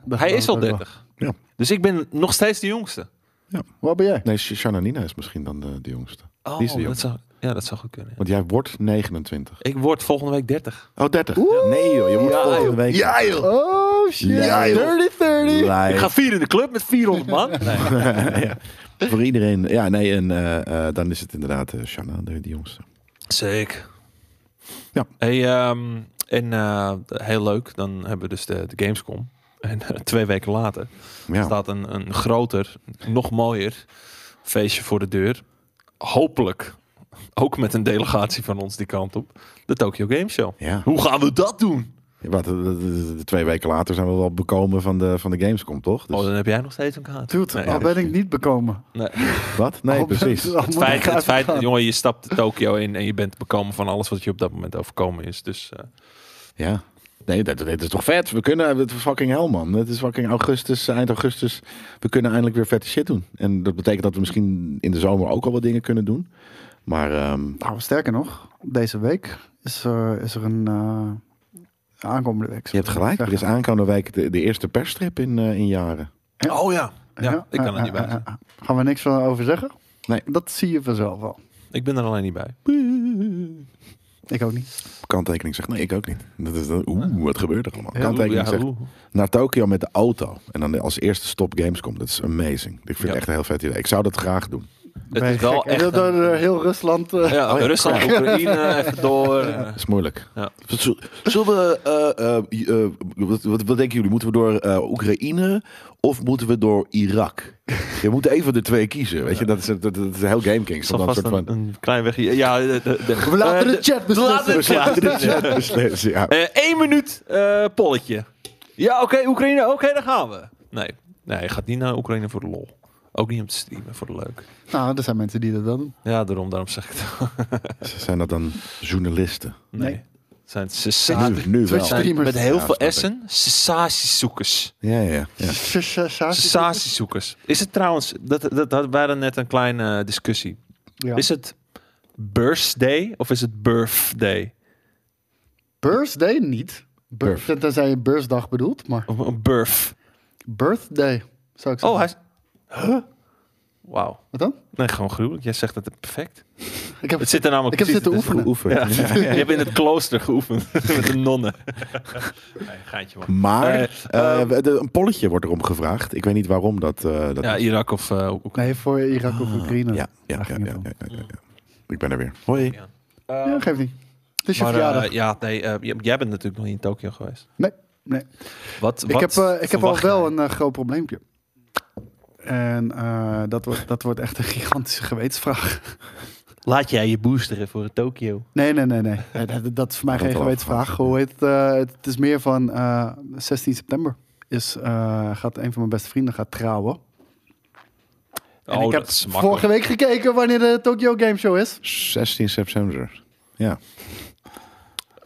A: Hij is al 30.
B: Ja.
A: Dus ik ben nog steeds de jongste.
C: Waar ben jij?
B: Nee, Sh- Shanna Nina is misschien dan de, de jongste.
A: Oh,
B: Die is de jongste.
A: dat zou, ja, dat zou goed kunnen. ja.
B: Want jij wordt 29.
A: Ik word volgende week 30.
B: Oh, 30. Nee joh, je moet volgende week.
D: Ja, joh.
C: Oh shit.
B: Ja, joh.
C: 30, 30.
A: Ik
B: Live.
A: ga vier in de club met 400 man. Nee.
B: ja. Voor iedereen. Ja, nee, en eh, eh, dan is het inderdaad eh Shanna, de, de jongste.
A: Zeker.
B: Ja.
A: Hey, ehm, en eh, heel leuk, dan hebben we dus de, de Gamescom. En eh, twee weken later
B: Ja.
A: staat een, een groter, nog mooier feestje voor de deur. Hopelijk ook met een delegatie van ons die kant op. De Tokyo Game Show.
B: ja.
A: Hoe gaan we dat doen?
B: Ja, wat, eh, eh, eh, twee weken later zijn we wel bekomen van de, van de Gamescom, toch? Dus,
A: Oh, dan heb jij nog steeds een kaart.
C: Dude,
A: Nee,
C: al
A: ja.
C: ben ik niet bekomen.
A: Nee.
B: wat? Nee,
D: Oh,
C: Al ben-
B: precies.
C: al
A: Het
C: moet ik
A: feit, het feit
C: uitgaan.
A: jongen, je stapt de Tokyo in en je bent bekomen van alles wat je op dat moment overkomen is. Dus eh,
B: Ja. Nee, dat, dit is toch vet? We kunnen, het is fucking hel man. Het is fucking augustus, eind augustus. We kunnen eindelijk weer vette shit doen. En dat betekent dat we misschien in de zomer ook al wat dingen kunnen doen. Maar ehm,
C: Nou, sterker nog, deze week is, er- is er een eh, aankomende week.
B: je hebt gelijk, er is aankomende week de, de eerste persstrip in, eh, in jaren.
C: Ja.
A: Oh ja. ja, ik kan er niet bij
C: eh,
A: zijn.
C: eh, eh. Gaan we niks van over zeggen?
B: Nee.
C: Dat zie je vanzelf wel.
A: Ik ben er alleen niet bij.
C: Ik ook niet.
B: Kanttekening zegt, nee, ik ook niet. Dat is, dan- Oeh, wat gebeurt er allemaal? Kanttekening
A: Ja,
B: zegt,
A: oeh.
B: naar Tokio met de auto. En dan als eerste stop Gamescom. Dat is amazing. Ik vind
A: Ja.
B: het echt een heel vet idee. Ik zou dat graag doen.
A: Het
C: Ben je
A: is wel
C: gek? En
A: echt
C: dat Door
A: een-
C: eh, heel Rusland. eh,
A: Ja,
B: Oh ja,
A: Rusland,
B: crap.
A: Oekraïne, even door. eh.
B: Dat is moeilijk.
D: Zul- Zullen we, eh, eh, i- eh, wat, wat, wat denken jullie? Moeten we door eh, Oekraïne of moeten we door Irak? Je moet even de twee kiezen, weet
B: Weet je,
D: je?
B: dat is, dat, dat is heel Game Kings.
A: Zal
B: om dan
A: vast
B: soort
A: een,
B: van...
A: een klein wegje. Ja, de, de, de-
C: We laten
A: eh,
C: de chat
A: we laten de
C: beslissen.
A: chat beslissen.
B: Beslissen, ja.
A: Eh, één minuut eh, polletje. Ja, oké, Oekraïne, oké, daar gaan we. Nee, nee, je gaat niet naar Oekraïne voor de lol. Ook niet om te streamen, voor de leuk.
C: Nou, er zijn mensen die dat wel doen.
A: Ja, daarom, daarom zeg ik het.
B: Zijn dat dan journalisten?
A: Nee.
C: Nee.
A: Het zijn sensatie.
B: nu, nu wel.
C: Twitch-
A: zijn
C: Streamers.
A: met heel
B: Ja,
A: veel
B: snap ik.
A: essen sensatiezoekers.
B: Ja, ja, ja.
C: Sensatie.
A: Sensatiezoekers. Is het trouwens, dat, dat, dat waren net een kleine eh, discussie.
C: Ja.
A: Is het birthday of is het birthday?
C: Birthday niet.
B: Birth.
C: Birth. Tenzij je birthdag bedoelt, maar
A: Of een birth?
C: birthday zou ik zeggen.
A: Oh, hij is... Huh? Wauw.
C: Wat dan?
A: Nee, gewoon gruwelijk. Jij zegt het perfect.
C: Ik heb,
A: Het zit er namelijk
C: ik heb
A: precies
C: zitten
A: tussen.
C: oefenen.
B: Oefen.
A: Ja. Je hebt in het klooster geoefend met de nonnen. Nee, geintje man.
B: Maar
A: Eh,
B: eh, we- de- een polletje wordt erom gevraagd. Ik weet niet waarom dat... eh, dat
A: Ja, Irak of eh, Oekraïne.
C: Nee, voor Irak of Oekraïne.
B: Ah, ja, ja,
C: Daar
B: ja,
C: ging
B: ja,
C: het om.
B: ja, ja, ja. Ik ben er weer. Hoi.
C: Ja, geeft niet. Het is je
A: Maar eh,
C: verjaardag.
A: ja, nee, eh, j- jij bent natuurlijk nog niet in Tokio geweest.
C: Nee, nee.
A: Wat,
C: Ik
A: wat
C: heb, eh, ik heb al
A: verwacht
C: wel
A: jij?
C: een eh, groot probleempje. En eh, dat, wordt, dat wordt echt een gigantische gewetensvraag.
A: Laat jij je boosteren voor het Tokio?
C: Nee, nee, nee, nee. Nee, dat, dat is voor mij
B: Dat
C: geen
B: wel
C: gewetensvraag. Hoe heet het? eh, het is meer van eh, 16 september. Is, eh, gaat een van mijn beste vrienden gaat trouwen. En
A: Oh,
C: ik heb
A: dat is makkelijk.
C: vorige week gekeken wanneer de Tokyo Game Show is.
B: 16 september.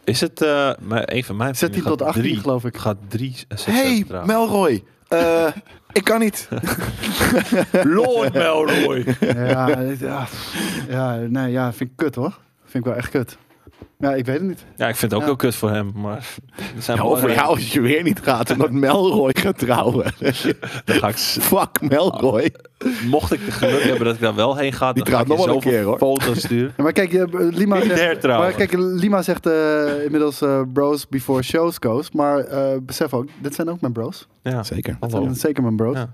A: Is het eh, maar een van mijn
C: Zet die
A: vrienden
C: tot
A: gaat
C: 18,
A: drie-
C: geloof ik.
A: Gaat drie eh, zes
B: Hey,
A: zetten dragen.
B: Melroy. Eh, ik kan niet.
A: Lord Melroy.
C: ja, dit- ja, pff, ja, nee, ja, vind ik kut hoor. Vind ik wel echt kut. Ja, ik weet het niet.
A: ja, ik vind het ook
C: Ja.
A: wel kut voor hem, maar... er Zijn
B: Ja, eh, of voor
A: belangrijke-
B: jou als je weer niet gaat, omdat Melroy gaat trouwen.
A: Dan ga ik s-
B: Fuck Melroy.
A: mocht ik de geluk hebben dat ik daar wel heen ga,
B: Die
A: dan ga ik
B: trouwt nog
A: je
B: wel een
A: zoveel
B: keer, hoor.
A: foto's sturen.
C: Ja, maar kijk, eh, Lima
A: Niet
C: zegt,
A: hertrouwen.
C: maar kijk, Lima zegt eh, inmiddels eh, bros before shows goes. Maar eh, besef ook, dit zijn ook mijn bros.
A: Ja,
B: Zeker.
C: Dit
A: hallo.
C: zijn zeker mijn bros.
A: Ja.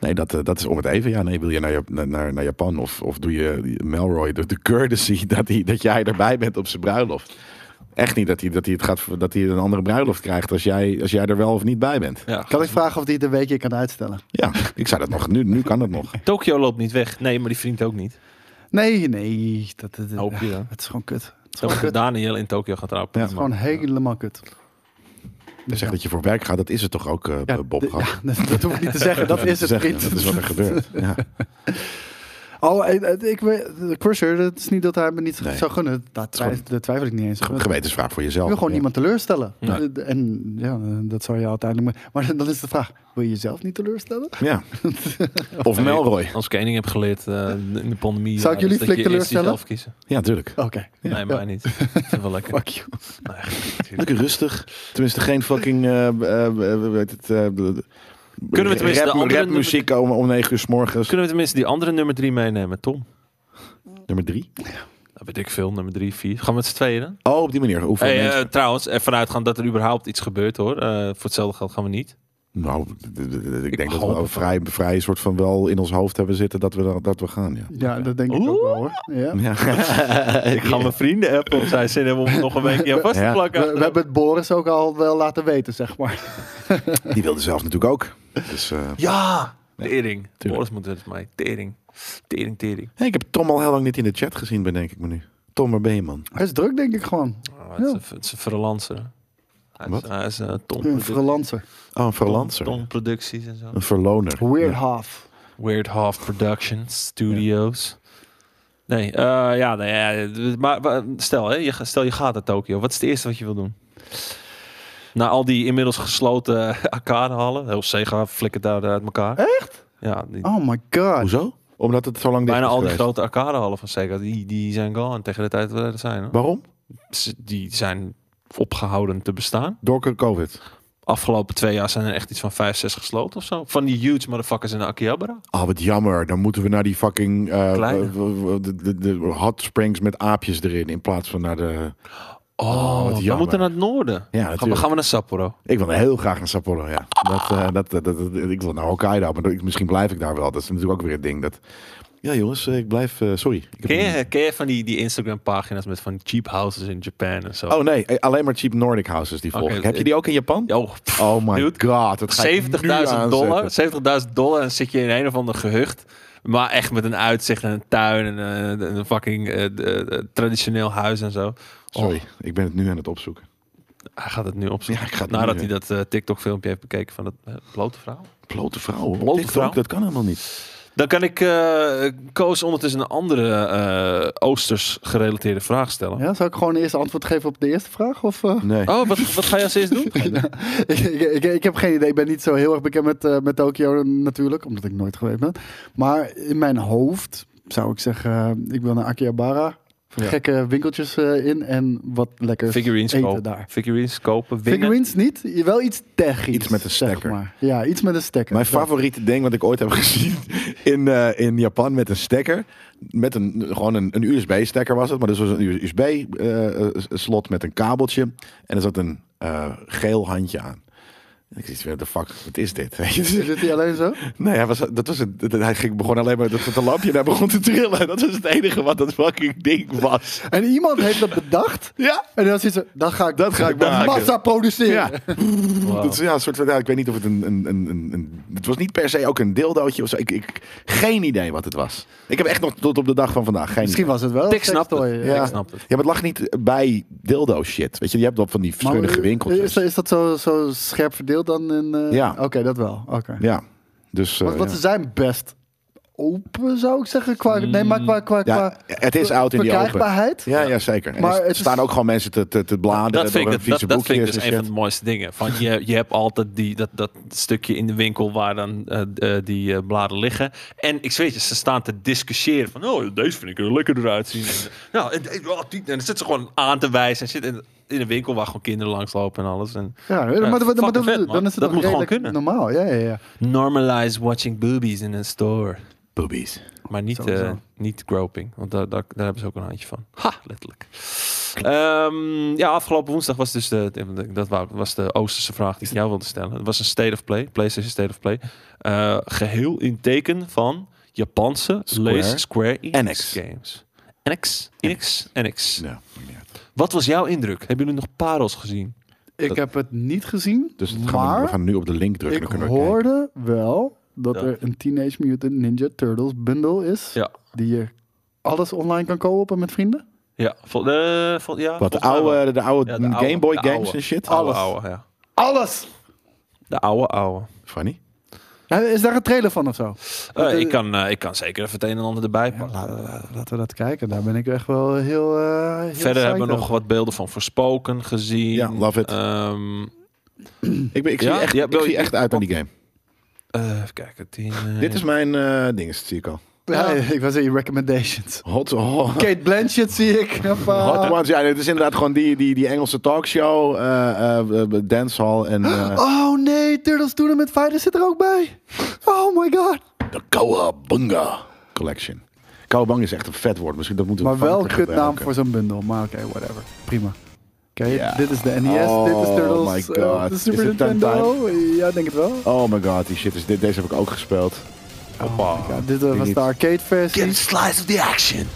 B: Nee, dat, eh, dat is om het even. Ja, nee, wil je naar, Jap- naar- naar, naar Japan of, of doe je die- Melroy de, de courtesy dat, hij, dat jij erbij bent op zijn bruiloft? Echt niet dat hij, dat, hij het gaat, dat hij een andere bruiloft krijgt als jij, als jij er wel of niet bij bent.
A: Ja.
C: Kan ik vragen of die het een weekje kan uitstellen?
B: Ja, ik zei dat nog. Nu, nu kan dat nog.
A: Tokio loopt niet weg. Nee, maar die vriend ook niet.
C: Nee, nee. Dat, dat, dat-
A: Hoop je dan.
C: Het is gewoon kut. Het is
A: Dan
C: gewoon,
A: moet
C: kut.
A: Daniel in Tokio gaan trouwen.
B: Ja.
C: Het is gewoon helemaal kut.
B: Je zegt dat je voor werk gaat, dat is het toch ook, eh,
C: Ja,
B: Bob?
C: de-
B: gehad?
C: ja, dat, dat hoef ik niet te zeggen. Dat
B: Te
C: is het,
B: zeggen,
C: vriend.
B: Dat is wat er gebeurt. Ja.
C: Oh, eh, eh, ik weet, de Crusher, dat is niet dat hij me niet
B: Nee.
C: zou gunnen. Daar twijf-
B: gewoon-
C: daar twijfel ik niet eens. aan.
B: Gewetensvraag voor
C: Je
B: jezelf.
C: wil gewoon
B: Ja.
C: niemand teleurstellen.
A: Ja.
C: Eh, En ja, eh, dat zou je uiteindelijk... Maar, maar dan is de vraag, wil je jezelf niet teleurstellen?
B: Ja. Of Melroy.
A: Als ik één ding heb geleerd eh, in de pandemie...
C: Zou ik
A: eh, is
C: jullie
A: dat
C: flink
A: je eerst
C: teleurstellen?
A: jezelf kiezen.
B: Ja, natuurlijk.
C: Oké.
A: Nee, mij niet. Ik vind het wel lekker.
C: Fuck you.
A: Nee,
B: Lekker rustig. Tenminste, geen fucking. eh, eh, eh, weet het, eh, Kunnen
A: we tenminste de andere nummer-
B: muziek om, om 9 uur s morgens.
A: Kunnen we tenminste die andere nummer drie meenemen, Tom?
B: Nummer 3.
A: Dat weet ik veel, nummer drie, vier. Gaan we met z'n tweeën dan?
B: Oh, op die manier. Hoeveel
A: Hey, eh,
B: mensen?
A: trouwens, ervan uitgaan dat er überhaupt iets gebeurt hoor. Eh, voor hetzelfde geld gaan we niet.
B: Nou, d- d- d- d- ik denk dat we
A: hoop
B: wel een
A: het
B: vrij, vrij soort van wel in ons hoofd hebben zitten dat we, dat we gaan. Ja.
C: Ja, dat denk ik
A: Oeh.
C: ook wel hoor. Ja.
B: Ja.
A: Ik ga mijn vrienden appen of zij zin hebben om het nog een weekje aan vast te
B: Ja.
A: plakken.
C: We, we hebben het Boris ook al wel laten weten, zeg maar.
B: Die wilde zelf natuurlijk ook. Dus, eh,
A: Ja! Tering.
B: tuurlijk.
A: Boris moet het mij. Tering. Tering, tering.
B: hey, ik heb Tom al heel lang niet in de chat gezien, bedenk ik me nu. Tom, waar ben je, man?
C: Hij is druk, denk ik gewoon.
A: Oh, het, is
C: Ja.
A: een, het is een freelancer. Hij is,
B: Wat?
A: hij is eh, Tom,
C: Een
A: produ-
C: freelancer.
B: Oh, een
A: Tom,
B: verlanser.
A: Tom Producties en zo.
B: Een verloner.
C: Weird
B: Ja.
C: half.
A: Weird Half Productions Studios. Nee, eh, ja, nee, ja, d- maar wa- stel, hè, je, ga- stel je gaat naar Tokio. Wat is het eerste wat je wil doen? Na al die inmiddels gesloten arcadehallen. Heel Sega flikkert daar uit elkaar. Echt? Ja, die-
C: Oh my god.
B: Hoezo? Omdat het zo lang dicht
A: bijna
B: is
A: al die
B: geweest.
A: grote arcadehallen van Sega, die, die zijn gone tegen de tijd dat we er zijn. Hoor.
B: Waarom?
A: Ze- Die zijn opgehouden te bestaan.
B: Door COVID.
A: Afgelopen twee jaar zijn er echt iets van vijf, zes gesloten of zo. Van die huge motherfuckers in de Akihabara.
B: Ah, wat jammer. Dan moeten we naar die fucking eh,
A: Kleine.
B: w- w- w- de, de, de hot springs met aapjes erin. In plaats van naar de...
A: Oh,
B: wat
A: we
B: jammer.
A: moeten naar het noorden.
B: Ja,
A: gaan, we,
B: natuurlijk.
A: gaan we naar Sapporo.
B: Ik wil heel graag naar Sapporo, ja. Dat, eh, dat, dat, dat- dat- ik wil naar Hokkaido, maar ik- misschien blijf ik daar wel. Dat is natuurlijk ook weer het ding. Dat... Ja jongens, eh, ik blijf... eh, sorry. Ik heb
A: Ken
B: een-
A: je, ken je van die, die Instagram-pagina's met van cheap houses in Japan en zo?
B: Oh nee, eh, alleen maar cheap Nordic houses die volg
A: Oké,
B: ik. Heb je die ook in Japan?
A: Oh, pff,
B: Oh my
A: dude.
B: god, dat ga ik nu
A: 70.000 dollar.
B: aanzetten.
A: 70.000 dollar en zit je in een of ander gehucht. Maar echt met een uitzicht en een tuin en eh, een, fucking eh, d- eh, traditioneel huis en zo.
B: Sorry,
A: Oh.
B: ik ben het nu aan het opzoeken.
A: Hij gaat het nu
B: Oh. Ja,
A: opzoeken.
B: ik ga het
A: Nadat
B: nu,
A: hij dat TikTok-filmpje heeft bekeken van dat eh, blote vrouw.
B: Blote vrouwen.
A: Blote
B: Blote
A: vrouw?
B: Dat kan helemaal niet.
A: Dan kan ik eh Koos ondertussen een andere eh, Oosters gerelateerde vraag stellen.
C: Ja, zou ik gewoon eerst antwoord geven op de eerste vraag? Of, eh?
B: Nee.
A: Oh, wat, wat ga je als eerst doen?
C: ik, ik, ik heb geen idee. Ik ben niet zo heel erg bekend met, eh, met Tokio natuurlijk, omdat ik nooit geweest ben. Maar in mijn hoofd zou ik zeggen, eh, ik wil naar Akihabara. Gekke winkeltjes eh, in en wat lekker
A: Figurines
C: dus eten
A: kopen.
C: daar.
A: Figurines kopen, winnen.
C: Figurines niet, wel iets technisch.
B: Iets met een
C: zeg
B: stekker.
C: maar. Ja, iets met een stekker.
B: Mijn
C: Zo.
B: favoriete ding wat ik ooit heb gezien in, eh, in Japan met een stekker. Met een, gewoon een, een USB-stekker was het. Maar dus was een USB-slot eh, met een kabeltje. En er zat een eh, geel handje aan. En ik zit weer, de fuck, wat is dit? Weet je?
C: Zit hij alleen zo?
B: Nee, hij, was, dat was een, dat- hij ging, begon alleen maar dat, dat een lampje en hij begon te trillen. Dat was het enige wat dat fucking ding was.
C: En iemand heeft dat bedacht.
B: Ja,
C: En dan zit ze, dat ga ik,
B: dat ga ik maken.
C: massa produceren.
B: Ja.
C: Oh.
B: Dat is, ja, een soort van, ja, ik weet niet of het een, een, een, een- een- Het was niet per se ook een dildootje of zo. Ik, ik, geen idee wat het was. Ik heb echt nog tot op de dag van vandaag geen
C: Misschien was het wel. een
A: Ik snap het.
C: sextoy,
A: Ja.
C: ja.
A: Ik snap het.
B: Ja, maar het lag niet bij dildo shit. Weet je, je hebt dat van die
C: Maar,
B: verschillende
C: eh, Is,
B: winkeltjes.
C: dat- is dat zo, zo scherp verdeeld dan? In, eh,
B: Ja.
C: Oké, dat wel. Oké.
B: Ja, dus... eh,
C: Want, want
B: ja.
C: ze zijn best open, zou ik zeggen. Qua, nee, maar qua, qua, qua
B: Ja, het is oud in die open.
C: verkrijgbaarheid.
B: Ja, ja, zeker.
C: Maar
B: Maar er
C: het is-
B: staan ook gewoon mensen te, te, te bladeren
A: Dat vind,
B: door
A: ik,
B: een
A: dat, dat,
B: vieze
A: dat vind ik
B: boekjes
A: dus
B: en
A: een van de
B: shit.
A: mooiste dingen. Van je, je hebt altijd die, dat, dat stukje in de winkel waar dan eh, d- eh, die eh, bladen liggen. En ik zweet je, ze staan te discussiëren van... Oh, deze vind ik er lekkerder uitzien. En, nou, en, en, oh, die- en dan zitten ze gewoon aan te wijzen. En zitten in, in een winkel waar gewoon kinderen langslopen en alles. En
C: Ja, maar, maar- maar-
A: fucking
C: dan-
A: vet, man.
C: dan is het
A: Dat moet gewoon
C: nog redelijk
A: kunnen.
C: normaal. Ja, ja, ja.
A: normalize watching boobies in een store.
B: Boobies.
A: Maar niet,
C: Sowieso.
A: eh, niet groping, want daar, daar, daar hebben ze ook een handje van. Ha, letterlijk. Ehm, ja, afgelopen woensdag was dus de, dat wa- was de Oosterse vraag die ik jou wilde stellen. Het was een State of Play, PlayStation State of Play. Eh, geheel in teken van Japanse
B: Square.
A: Square, Square Enix,
B: Enix.
A: games. Enix, Enix, Enix.
B: Ja, maakt niet uit.
A: Wat was jouw indruk? Hebben jullie nog parels gezien?
C: Ik
A: Dat-
C: heb het niet gezien,
B: Dus dat gaan we, we
C: maar
B: gaan nu op de link drukken.
C: ik
B: dan kunnen we kijken.
C: hoorde wel dat
A: Dat-
C: er een Teenage Mutant Ninja Turtles bundle is.
A: Ja.
C: Die je alles online kan kopen met vrienden.
A: Ja, vol, eh, vol- ja
B: Wat, de
A: volgens mij wel.
B: oude, de oude
A: Ja, de oude-
B: Game Boy
A: de
B: games
A: oude.
B: en shit?
A: Oude, oude, ja.
C: Alles!
A: Eh, De oude oude.
B: Funny.
C: Nou, is daar een trailer van of zo?
A: Eh,
C: Want, eh,
A: ik, kan, eh, ik kan zeker even het een en ander erbij
C: Ja,
A: pakken.
C: laten, we- laten we dat kijken. Daar ben ik echt wel heel. eh, heel
A: Verder hebben we
C: psycho.
A: nog wat beelden van Verspoken gezien.
B: Ja, love it.
A: Ehm,
B: Ik, ben- ik,
A: Ja?
B: zie, echt,
A: Ja,
B: ik
A: wil
B: zie
A: je- Oh.
B: echt uit aan die game.
A: eh, even kijken. tien, eh,
B: Dit is mijn eh ding, zie ik al.
C: Ja, ik was in je recommendations.
B: Hot, hot,
C: Kate Blanchett zie ik. Hoppa.
B: hot Ones. Ja, dit is inderdaad gewoon die, die, die Engelse talkshow, eh eh dancehall en
A: Ah,
B: eh
C: Oh nee, Turtles Tournament Fighter zit er ook bij. Oh my god.
B: de Kawabunga Collection. Kawabunga is echt een vet woord. Misschien dat moeten we
C: Maar wel een
B: vaker
C: kutnaam
B: gebruiken.
C: voor zo'n bundel. Maar oké, whatever. Prima. Oké,
B: Ja.
C: dit is de NES, dit is
B: Oh
C: Turtles,
B: my
C: eh,
B: God.
C: de
B: Is
C: Super
B: het ten
C: Nintendo. Ja, ik denk het wel.
B: Oh my god, die shit is dit. Deze heb ik ook gespeeld.
C: Oh
A: hoppa.
C: Ja, dit eh, was
B: niet.
C: de arcade versie.
A: slice of the action.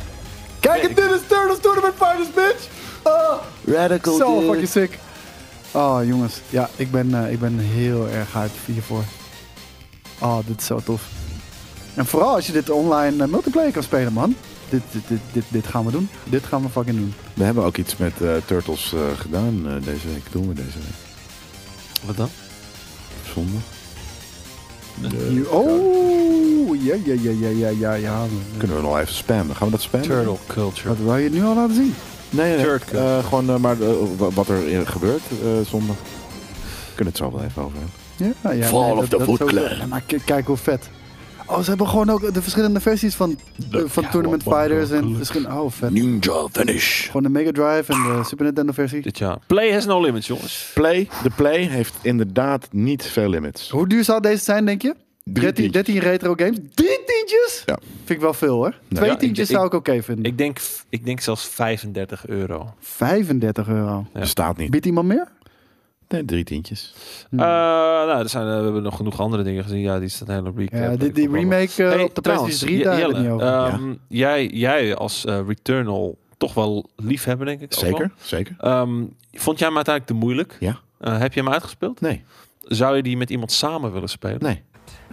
C: Kijk, en dit is Turtles Tournament Fighters, bitch! Oh,
B: Radical.
C: zo
B: dude.
C: fucking sick. Oh, jongens. Ja, ik ben, eh, ik ben heel erg hyped hiervoor. Oh, dit is zo tof. En vooral als je dit online eh, multiplayer kan spelen, man. Dit, dit, dit, dit, dit gaan we doen. Dit gaan we fucking doen.
B: We hebben ook iets met eh, Turtles eh, gedaan eh, deze week. Doen we deze week.
A: Wat dan?
B: Zondag.
C: Hier- oh, ja, ja, ja, ja, ja, ja, ja.
B: Kunnen we nog even spammen? Gaan we dat spammen?
A: Turtle culture.
C: Wat wil je het nu al laten zien?
B: Nee, nee, nee.
A: Turd cut.
B: Eh, gewoon eh, maar eh, wa- wat er eh, gebeurt eh, zondag. We kunnen het zo wel even over hebben.
C: Ja, ja, nee,
B: Fall
C: dat-
B: of the
C: dat
B: Foot
C: sowieso.
B: Clan.
C: Ja, maar k- kijk hoe vet. Oh, ze hebben gewoon ook de verschillende versies van, eh, van
B: ja,
C: Tournament
B: wat- wat-
C: Fighters.
A: wat-
C: En verschillende, oh, vet.
B: Ninja Vanish.
C: Gewoon de Mega Drive en
B: Ah.
C: de Super Nintendo versie.
A: Dit jaar. Play has no limits, jongens.
B: Play, de Play heeft inderdaad niet veel limits.
C: Hoe duur zou deze zijn, denk je? 13,
B: tientjes.
C: 13 retro games. Drie tientjes?
B: Ja. Nou
C: Vind ik wel veel, hoor. Twee
A: Ja, ik-
C: tientjes
A: ik-
C: zou ik oké vinden.
A: Ik denk, ik denk zelfs 35 euro.
C: 35 euro.
A: Ja.
B: Bestaat niet.
C: Biedt iemand meer?
B: Nee, drie tientjes.
C: Hmm.
A: Eh, nou, er zijn, eh, we hebben nog genoeg andere dingen gezien. Ja, die is een hele recap.
C: Ja,
A: Ik
C: dit, die
A: vond wel-
C: remake eh,
A: Hey,
C: op de
A: trouwens,
C: PlayStation 3, daar hebben we het niet
A: Jelle,
C: over.
A: ehm, jij, jij als eh, Returnal toch wel liefhebber, denk ik. ook
B: Zeker, zeker.
A: wel. Ehm, vond jij hem uiteindelijk te moeilijk?
B: Ja.
A: Eh, heb je hem uitgespeeld?
B: Nee,
A: Zou je die met iemand samen willen spelen?
B: nee.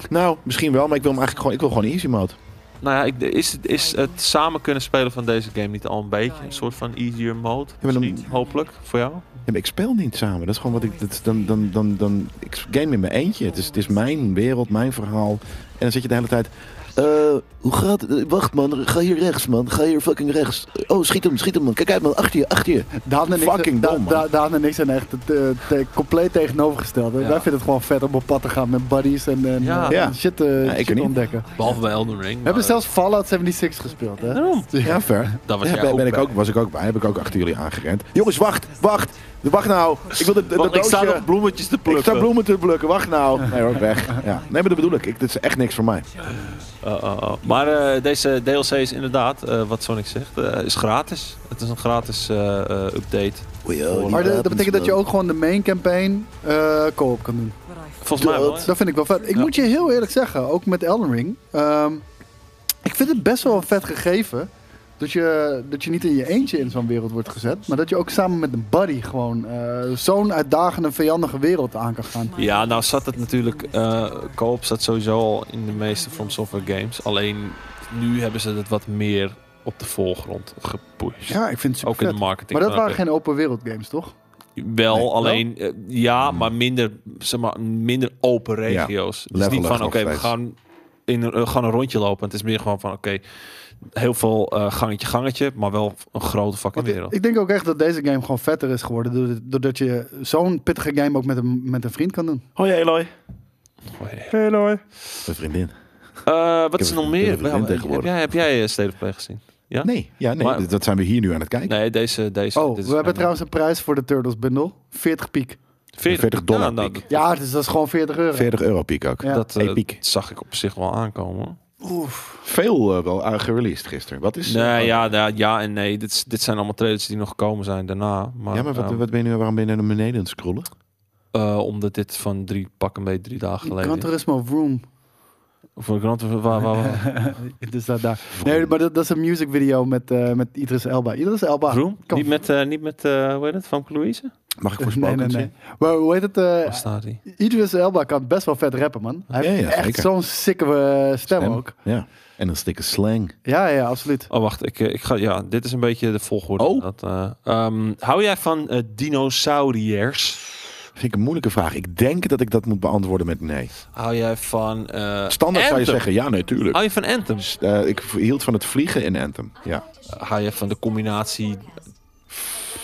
B: Nou, misschien wel, maar ik wil hem eigenlijk gewoon, ik wil gewoon easy mode.
A: Nou ja, ik, is, het, is het samen kunnen spelen van deze game niet al een beetje een soort van easier mode?
B: maar dan-
A: misschien, hopelijk, voor jou?
B: Ja, maar ik speel niet samen. Dat is gewoon wat ik. Dat, is dan, dan, dan, dan, ik game in mijn eentje. Het is, het is mijn wereld, mijn verhaal. En dan zit je de hele tijd. eh, hoe gaat het? Eh, Wacht man, ga hier rechts man. Ga hier fucking rechts. Oh, schiet hem, schiet hem man. Kijk uit man, achter je, achter je.
C: Daan en,
B: Fucking
C: ik, Da-
B: dom, man.
C: Da- Daan en ik zijn echt het, eh, te- compleet tegenovergesteld. Wij vinden het gewoon vet om op pad te gaan met buddies en, en,
A: Ja.
C: eh,
B: Ja.
C: shit, eh,
B: Ja, ik
C: shit
B: niet.
C: ontdekken.
A: Behalve bij Elden Ring.
C: We hebben zelfs Fallout 76 gespeeld, hè?
A: Daarom.
B: Ja, ver.
A: Dat was
B: ja,
A: jij
B: ben,
A: ook
B: ben ik
A: bij.
B: ook, was ik ook bij. Heb ik ook achter jullie aangerend. Jongens, wacht, wacht. Wacht nou. Ik wil de, de,
A: Want
B: de
A: ik sta
B: doosje-
A: nog bloemetjes te
B: Ik
A: plukken.
B: sta bloemen te plukken. Wacht nou. Nee hoor, weg. Ja. Nee, maar dat bedoel ik. ik. Dit is echt niks voor mij.
A: Oh, oh, oh. Maar eh, deze DLC is inderdaad, eh, wat Sonic zegt, eh, is gratis. Het is een gratis eh, eh, update.
C: Maar de- dat betekent dat je ook gewoon de main campaign eh co-op kan doen.
A: Volgens mij wel. hè?
C: Dat vind ik wel vet. Ik
A: Ja.
C: moet je heel eerlijk zeggen, ook met Elden Ring. ehm, ik vind het best wel een vet gegeven. Dat je, dat je niet in je eentje in zo'n wereld wordt gezet. Maar dat je ook samen met een buddy gewoon eh, zo'n uitdagende, vijandige wereld aan kan gaan.
A: Ja, nou zat het natuurlijk, eh co-op zat sowieso al in de meeste From Software games. Alleen nu hebben ze het wat meer op de voorgrond gepusht.
C: Ja, ik vind het
A: ook
C: super
A: in de marketing.
C: Maar dat waren
A: knap,
C: geen open wereld games, toch?
A: hè? Wel,
B: Nee. Hmm.
A: alleen eh, ja, maar minder, zeg maar, minder open regio's. het is
B: levelig
A: niet van oké,
B: nog
A: we
B: steeds.
A: gaan, in, een- eh, gaan een rondje lopen. Het is meer gewoon van oké, heel veel eh, gangetje, gangetje, maar wel een grote fucking
C: Want ik,
A: wereld.
C: ik denk ook echt dat deze game gewoon vetter is geworden. doord- Doordat je zo'n pittige game ook met een, met een vriend kan doen.
B: Hoi Eloy.
A: Oh, ja.
B: Mijn vriendin.
A: Eh, wat
B: heb
A: is er
B: het
A: nog
B: heel
A: meer?
B: veel
A: Wel, heb
B: tegenwoordig.
A: jij, heb jij eh, State of Play gezien? Ja?
B: Nee, ja, nee
A: Maar-
B: dit- dat zijn we hier nu aan het kijken.
A: Nee, deze... deze
C: Oh,
A: dit is
C: we hebben
A: mijn-
C: trouwens een prijs voor de Turtles bundle. 40 piek.
B: 40 dollar
A: Ja, nou,
B: piek.
C: Ja, dus dat is gewoon 40 euro.
B: 40 euro piek ook.
C: Ja.
A: dat eh,
B: Hey, piek.
A: zag ik op zich wel aankomen. hoor.
B: Veel eh, wel uh, gereleased gisteren. Wat is...
A: Nee,
B: eh,
A: ja, ja, ja en nee. Dit, is- dit zijn allemaal trailers die nog gekomen zijn daarna. Maar,
B: Ja, maar wat,
A: ehm,
B: wat ben je nu, waarom ben je naar beneden aan het scrollen?
A: eh, omdat dit van drie pakken mee drie dagen geleden
C: Gran
A: is.
C: Turismo Vroom.
A: Of een Gran Turismo, waar, waar, waar-
C: dus dat daar. Nee, maar dat, dat is een music video met, eh, met Idris Elba. Idris Elba.
B: Ah,
A: Vroom?
C: Kom.
A: Niet met, eh, niet met eh, hoe heet het, Van Louise?
B: Mag ik
C: Nee,
B: voorspelken?
C: nee, nee. Maar hoe heet het? eh,
A: Waar staat die?
C: Idris Elba kan best wel vet rappen, man. Hij
B: Ja,
C: heeft
B: ja,
C: echt
B: zeker.
C: zo'n sikke eh, stem,
B: Stem.
C: ook.
B: Ja. En een stikke slang.
C: Ja, ja, absoluut.
A: Oh, wacht. Ik, eh, ik ga, ja, dit is een beetje de volgorde.
B: Oh.
A: Dat, eh, ehm, hou jij van eh, dinosauriërs?
B: vind ik een moeilijke vraag. Ik denk dat ik dat moet beantwoorden met nee.
A: Hou jij van... eh,
B: Standaard zou
A: Anthem?
B: je zeggen, ja, nee, tuurlijk.
A: Hou je van Anthem?
B: Eh, ik hield van het vliegen in Anthem. Ja.
A: Hou je van de combinatie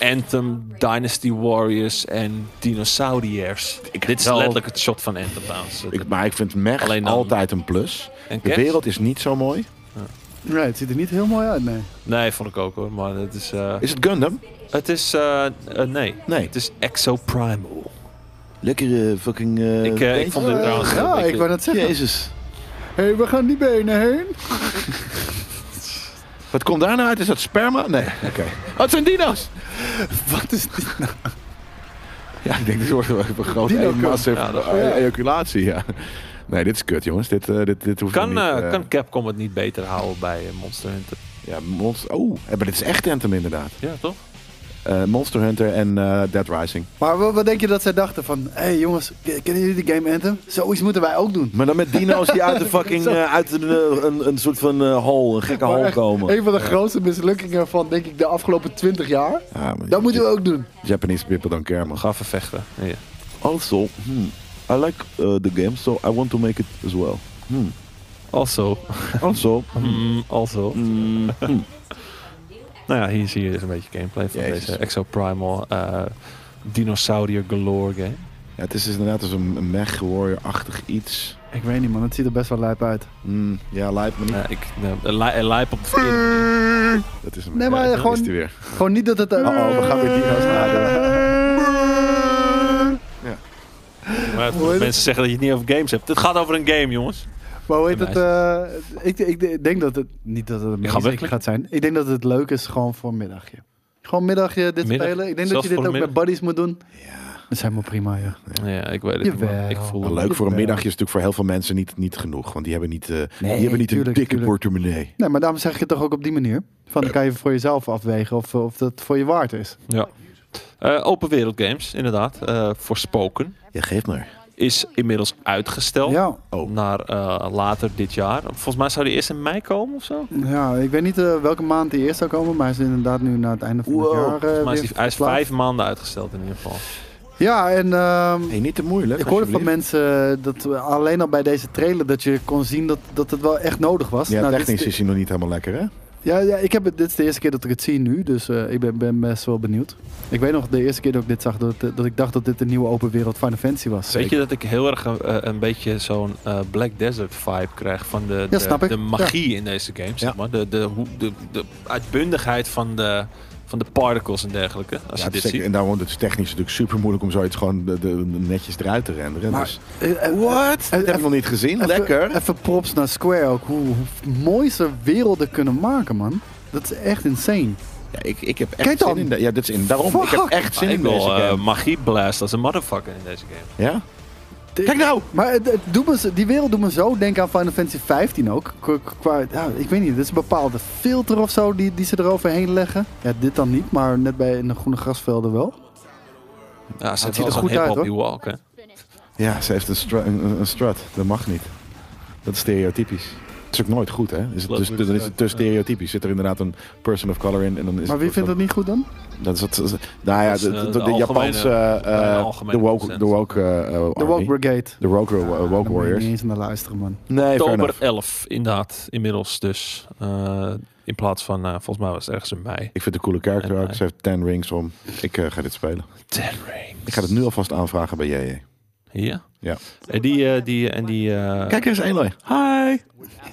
A: Anthem, Dynasty Warriors en Dinosauriers? Dit is
B: wel-
A: letterlijk het shot van Anthem trouwens.
B: Ik, maar ik vind mech
A: Alleen dan-
B: altijd een plus.
A: En
B: De
A: Cats?
B: wereld is niet zo mooi.
C: Nee, het ziet er niet heel mooi uit, nee.
A: Nee, vond ik ook hoor. Maar het is... eh,
B: Is het Gundam?
A: het is... eh, eh, nee.
B: Nee.
A: Het is Exoprimal.
B: Lekkere fucking... eh,
A: ik, eh, ik
B: ding.
A: vond dit trouwens...
C: ja,
A: ik-
C: ik wou net zeggen.
B: Jezus.
C: Hé, hey, we gaan die benen heen.
B: Wat komt daar nou uit? Is dat sperma? Nee. Oké. Oh, het zijn dino's!
C: Wat is dit nou?
B: Ja, ik denk, dit wordt wel een grote
C: Dino
B: een
C: Cup.
B: massive
A: Ja, dat-
B: eh, ejaculatie, ja. Nee, dit is kut, jongens. Dit, eh, dit, dit hoeft
A: Kan,
B: niet.
A: eh,
B: eh,
A: kan Capcom het niet beter houden bij eh, Monster Hunter?
B: Ja, Monster... Oh, eh, maar dit is echt Anthem, inderdaad.
A: Ja, toch?
B: Eh, Monster Hunter en eh, Dead Rising.
C: Maar wat, wat denk je dat zij dachten van... Hé hey, jongens, ken- kennen jullie de game Anthem? Zoiets moeten wij ook doen.
E: Maar dan met dino's die uit, de fucking, eh, uit een, eh, een, een soort van eh hol, een gekke
C: Maar
E: hol
C: echt,
E: komen.
C: Een van de grootste mislukkingen van, denk ik, de afgelopen 20 jaar.
B: Ja, maar-
C: Dat moeten we ook doen.
B: Japanese people don't care, man.
A: Gaffe vechten. Ja.
E: Also, hmm, I like eh, the game, so I want to make it as well.
A: Also.
E: Also,
A: Mm, also.
E: mm, hmm.
A: Nou ja, hier zie je dus een beetje gameplay van
B: Jezus.
A: deze Exoprimal eh Dinosaurier Galore game.
B: Ja, het is dus inderdaad dus een, een mech warrior-achtig iets.
C: Ik weet niet man, het ziet er best wel lijp uit.
B: Hmm, ja, lijkt me niet.
A: Ja, ik eh, li- eh, lijp op de verkeerde-
B: Dat is hem.
C: Nee, maar
B: Ja,
C: gewoon-
B: Is die weer.
C: Gewoon niet dat het... eh,
B: Oh, oh, we gaan weer dino's nadenken.
A: Maar
C: Hoe heet
A: mensen zeggen dat je het niet over games hebt. Het gaat over een game, jongens.
C: Maar hoe heet
A: Bij
C: het? eh, ik, ik denk dat het niet dat het
A: gaat
C: een
A: werkelijk.
C: gaat zijn. Ik denk dat het leuk is gewoon voor een middagje. Gewoon middagje dit
A: Middag?
C: spelen. Ik denk
A: Zelfs
C: dat je
A: voor een
C: dit ook met
A: middag?
C: buddies moet doen. Ja. Dat zijn wel prima, ja.
A: Ja, ik weet het niet. maar
C: Jawel.
A: Ik voel
B: Maar
A: hem.
B: leuk voor een
C: Ja.
B: middagje is natuurlijk voor heel veel mensen niet, niet genoeg. Want die hebben niet, eh,
C: Nee,
B: die hebben niet
C: tuurlijk,
B: een dikke
C: tuurlijk.
B: portemonnee.
C: Nee, maar daarom zeg ik het toch ook op die manier. Van, dan kan je voor jezelf afwegen of, of dat voor je waard is.
A: Ja. Eh, open wereld games, inderdaad. eh voor Spoken.
B: Ja, geef maar.
A: Is inmiddels uitgesteld.
C: Ja,
B: Oh.
A: Naar eh, later dit jaar. Volgens mij zou die eerst in mei komen of zo.
C: ja, ik weet niet eh, welke maand die eerst zou komen, maar hij is inderdaad nu na het einde van
E: Wow.
C: het jaar. eh,
A: Maar is
C: weer
A: die- hij is
C: verplaatst.
A: vijf maanden uitgesteld in ieder geval.
C: Ja, en ehm,
B: Hey, niet te moeilijk.
C: ik hoorde van
B: alsjeblieft.
C: mensen eh, dat we alleen al bij deze trailer dat je kon zien dat, dat het wel echt nodig was.
B: Ja,
C: Nou, dit is
B: technisch
C: de-
B: is hij nog niet helemaal lekker, hè?
C: Ja, ja ik heb het, dit is de eerste keer dat ik het zie nu, dus eh, ik ben, ben best wel benieuwd. Ik weet nog de eerste keer dat ik dit zag, dat, dat ik dacht dat dit een nieuwe open wereld Final Fantasy was.
A: Weet je dat ik heel erg eh, een beetje zo'n eh, Black Desert vibe krijg van de, de,
C: snap ik.
A: de magie in deze game, zeg
B: Ja.
A: maar. De, de, hoe- de, de uitbundigheid van de, van de particles en dergelijke. Als
B: Ja,
A: je
B: het is
A: dit
B: zeker-
A: ziet.
B: en daarom het is technisch natuurlijk super moeilijk om zoiets gewoon de, de- netjes eruit te renderen.
C: Maar-
B: dus,
C: Eh, eh,
B: What? Dat heb ik nog niet gezien.
C: Even-
B: Lekker.
C: Even props naar Square ook. Hoe, hoe mooi ze werelden kunnen maken, man. Dat is echt insane.
B: Ja, ik, ik heb
C: Kijk
B: echt
C: dan.
B: zin in. de- Ja, dit is in. Daarom. Ik heb
C: Fuck.
B: echt zin
A: Maar ik
B: in deze
A: wil eh,
B: game.
A: magie blast als een motherfucker in deze game.
B: ja?
C: De-
B: Kijk nou!
C: Maar het, het doet me, zo- die wereld doet me zo denken aan Final Fantasy 15 ook. Qua, qua- ja, ik weet niet, dit is een bepaalde filter of zo die, die ze eroverheen leggen. Ja, dit dan niet, maar net bij in de groene grasvelden wel.
A: Ja, ze hebben
C: het ziet
A: wel
C: er
A: zo'n
C: goed
A: hip
C: uit,
A: op
C: hoor.
A: die walk, hè.
B: Ja, ze heeft een, stru- een, een- een strut. Dat mag niet. Dat is stereotypisch. Dat is ook nooit goed, hè? Is het dus, dan
A: nou
B: is het te stereotypisch. Zit er inderdaad een person of color in en dan is
C: Maar
B: het
C: wie vindt dat niet goed dan?
B: Dat is, dat is- nou ja,
A: Dat is,
B: de,
A: eh,
B: de-
A: de
B: de Japanse...
A: algemene-
B: eh, eh,
A: algemene
B: de woke,
A: consensus.
B: de woke, eh, eh,
C: De Woke
B: army.
C: Brigade.
B: De woke, eh,
C: Daar
B: woke
C: ben je
B: warriors.
C: niet eens naar luisteren, man.
B: Nee, fair
A: Oktober
B: enough.
A: 11, inderdaad, inmiddels dus. Eh, in plaats van, eh, volgens mij was het ergens in mei.
B: Ik vind het een coole character
A: En,
B: ook. Ze heeft 10 rings om. Ik eh, ga dit spelen.
A: Ten Rings.
B: Ik ga het nu alvast aanvragen bij JJ.
A: Ja?
B: Ja.
A: En die, eh, die, en die... eh,
B: Kijk, er is Eloy. Hi!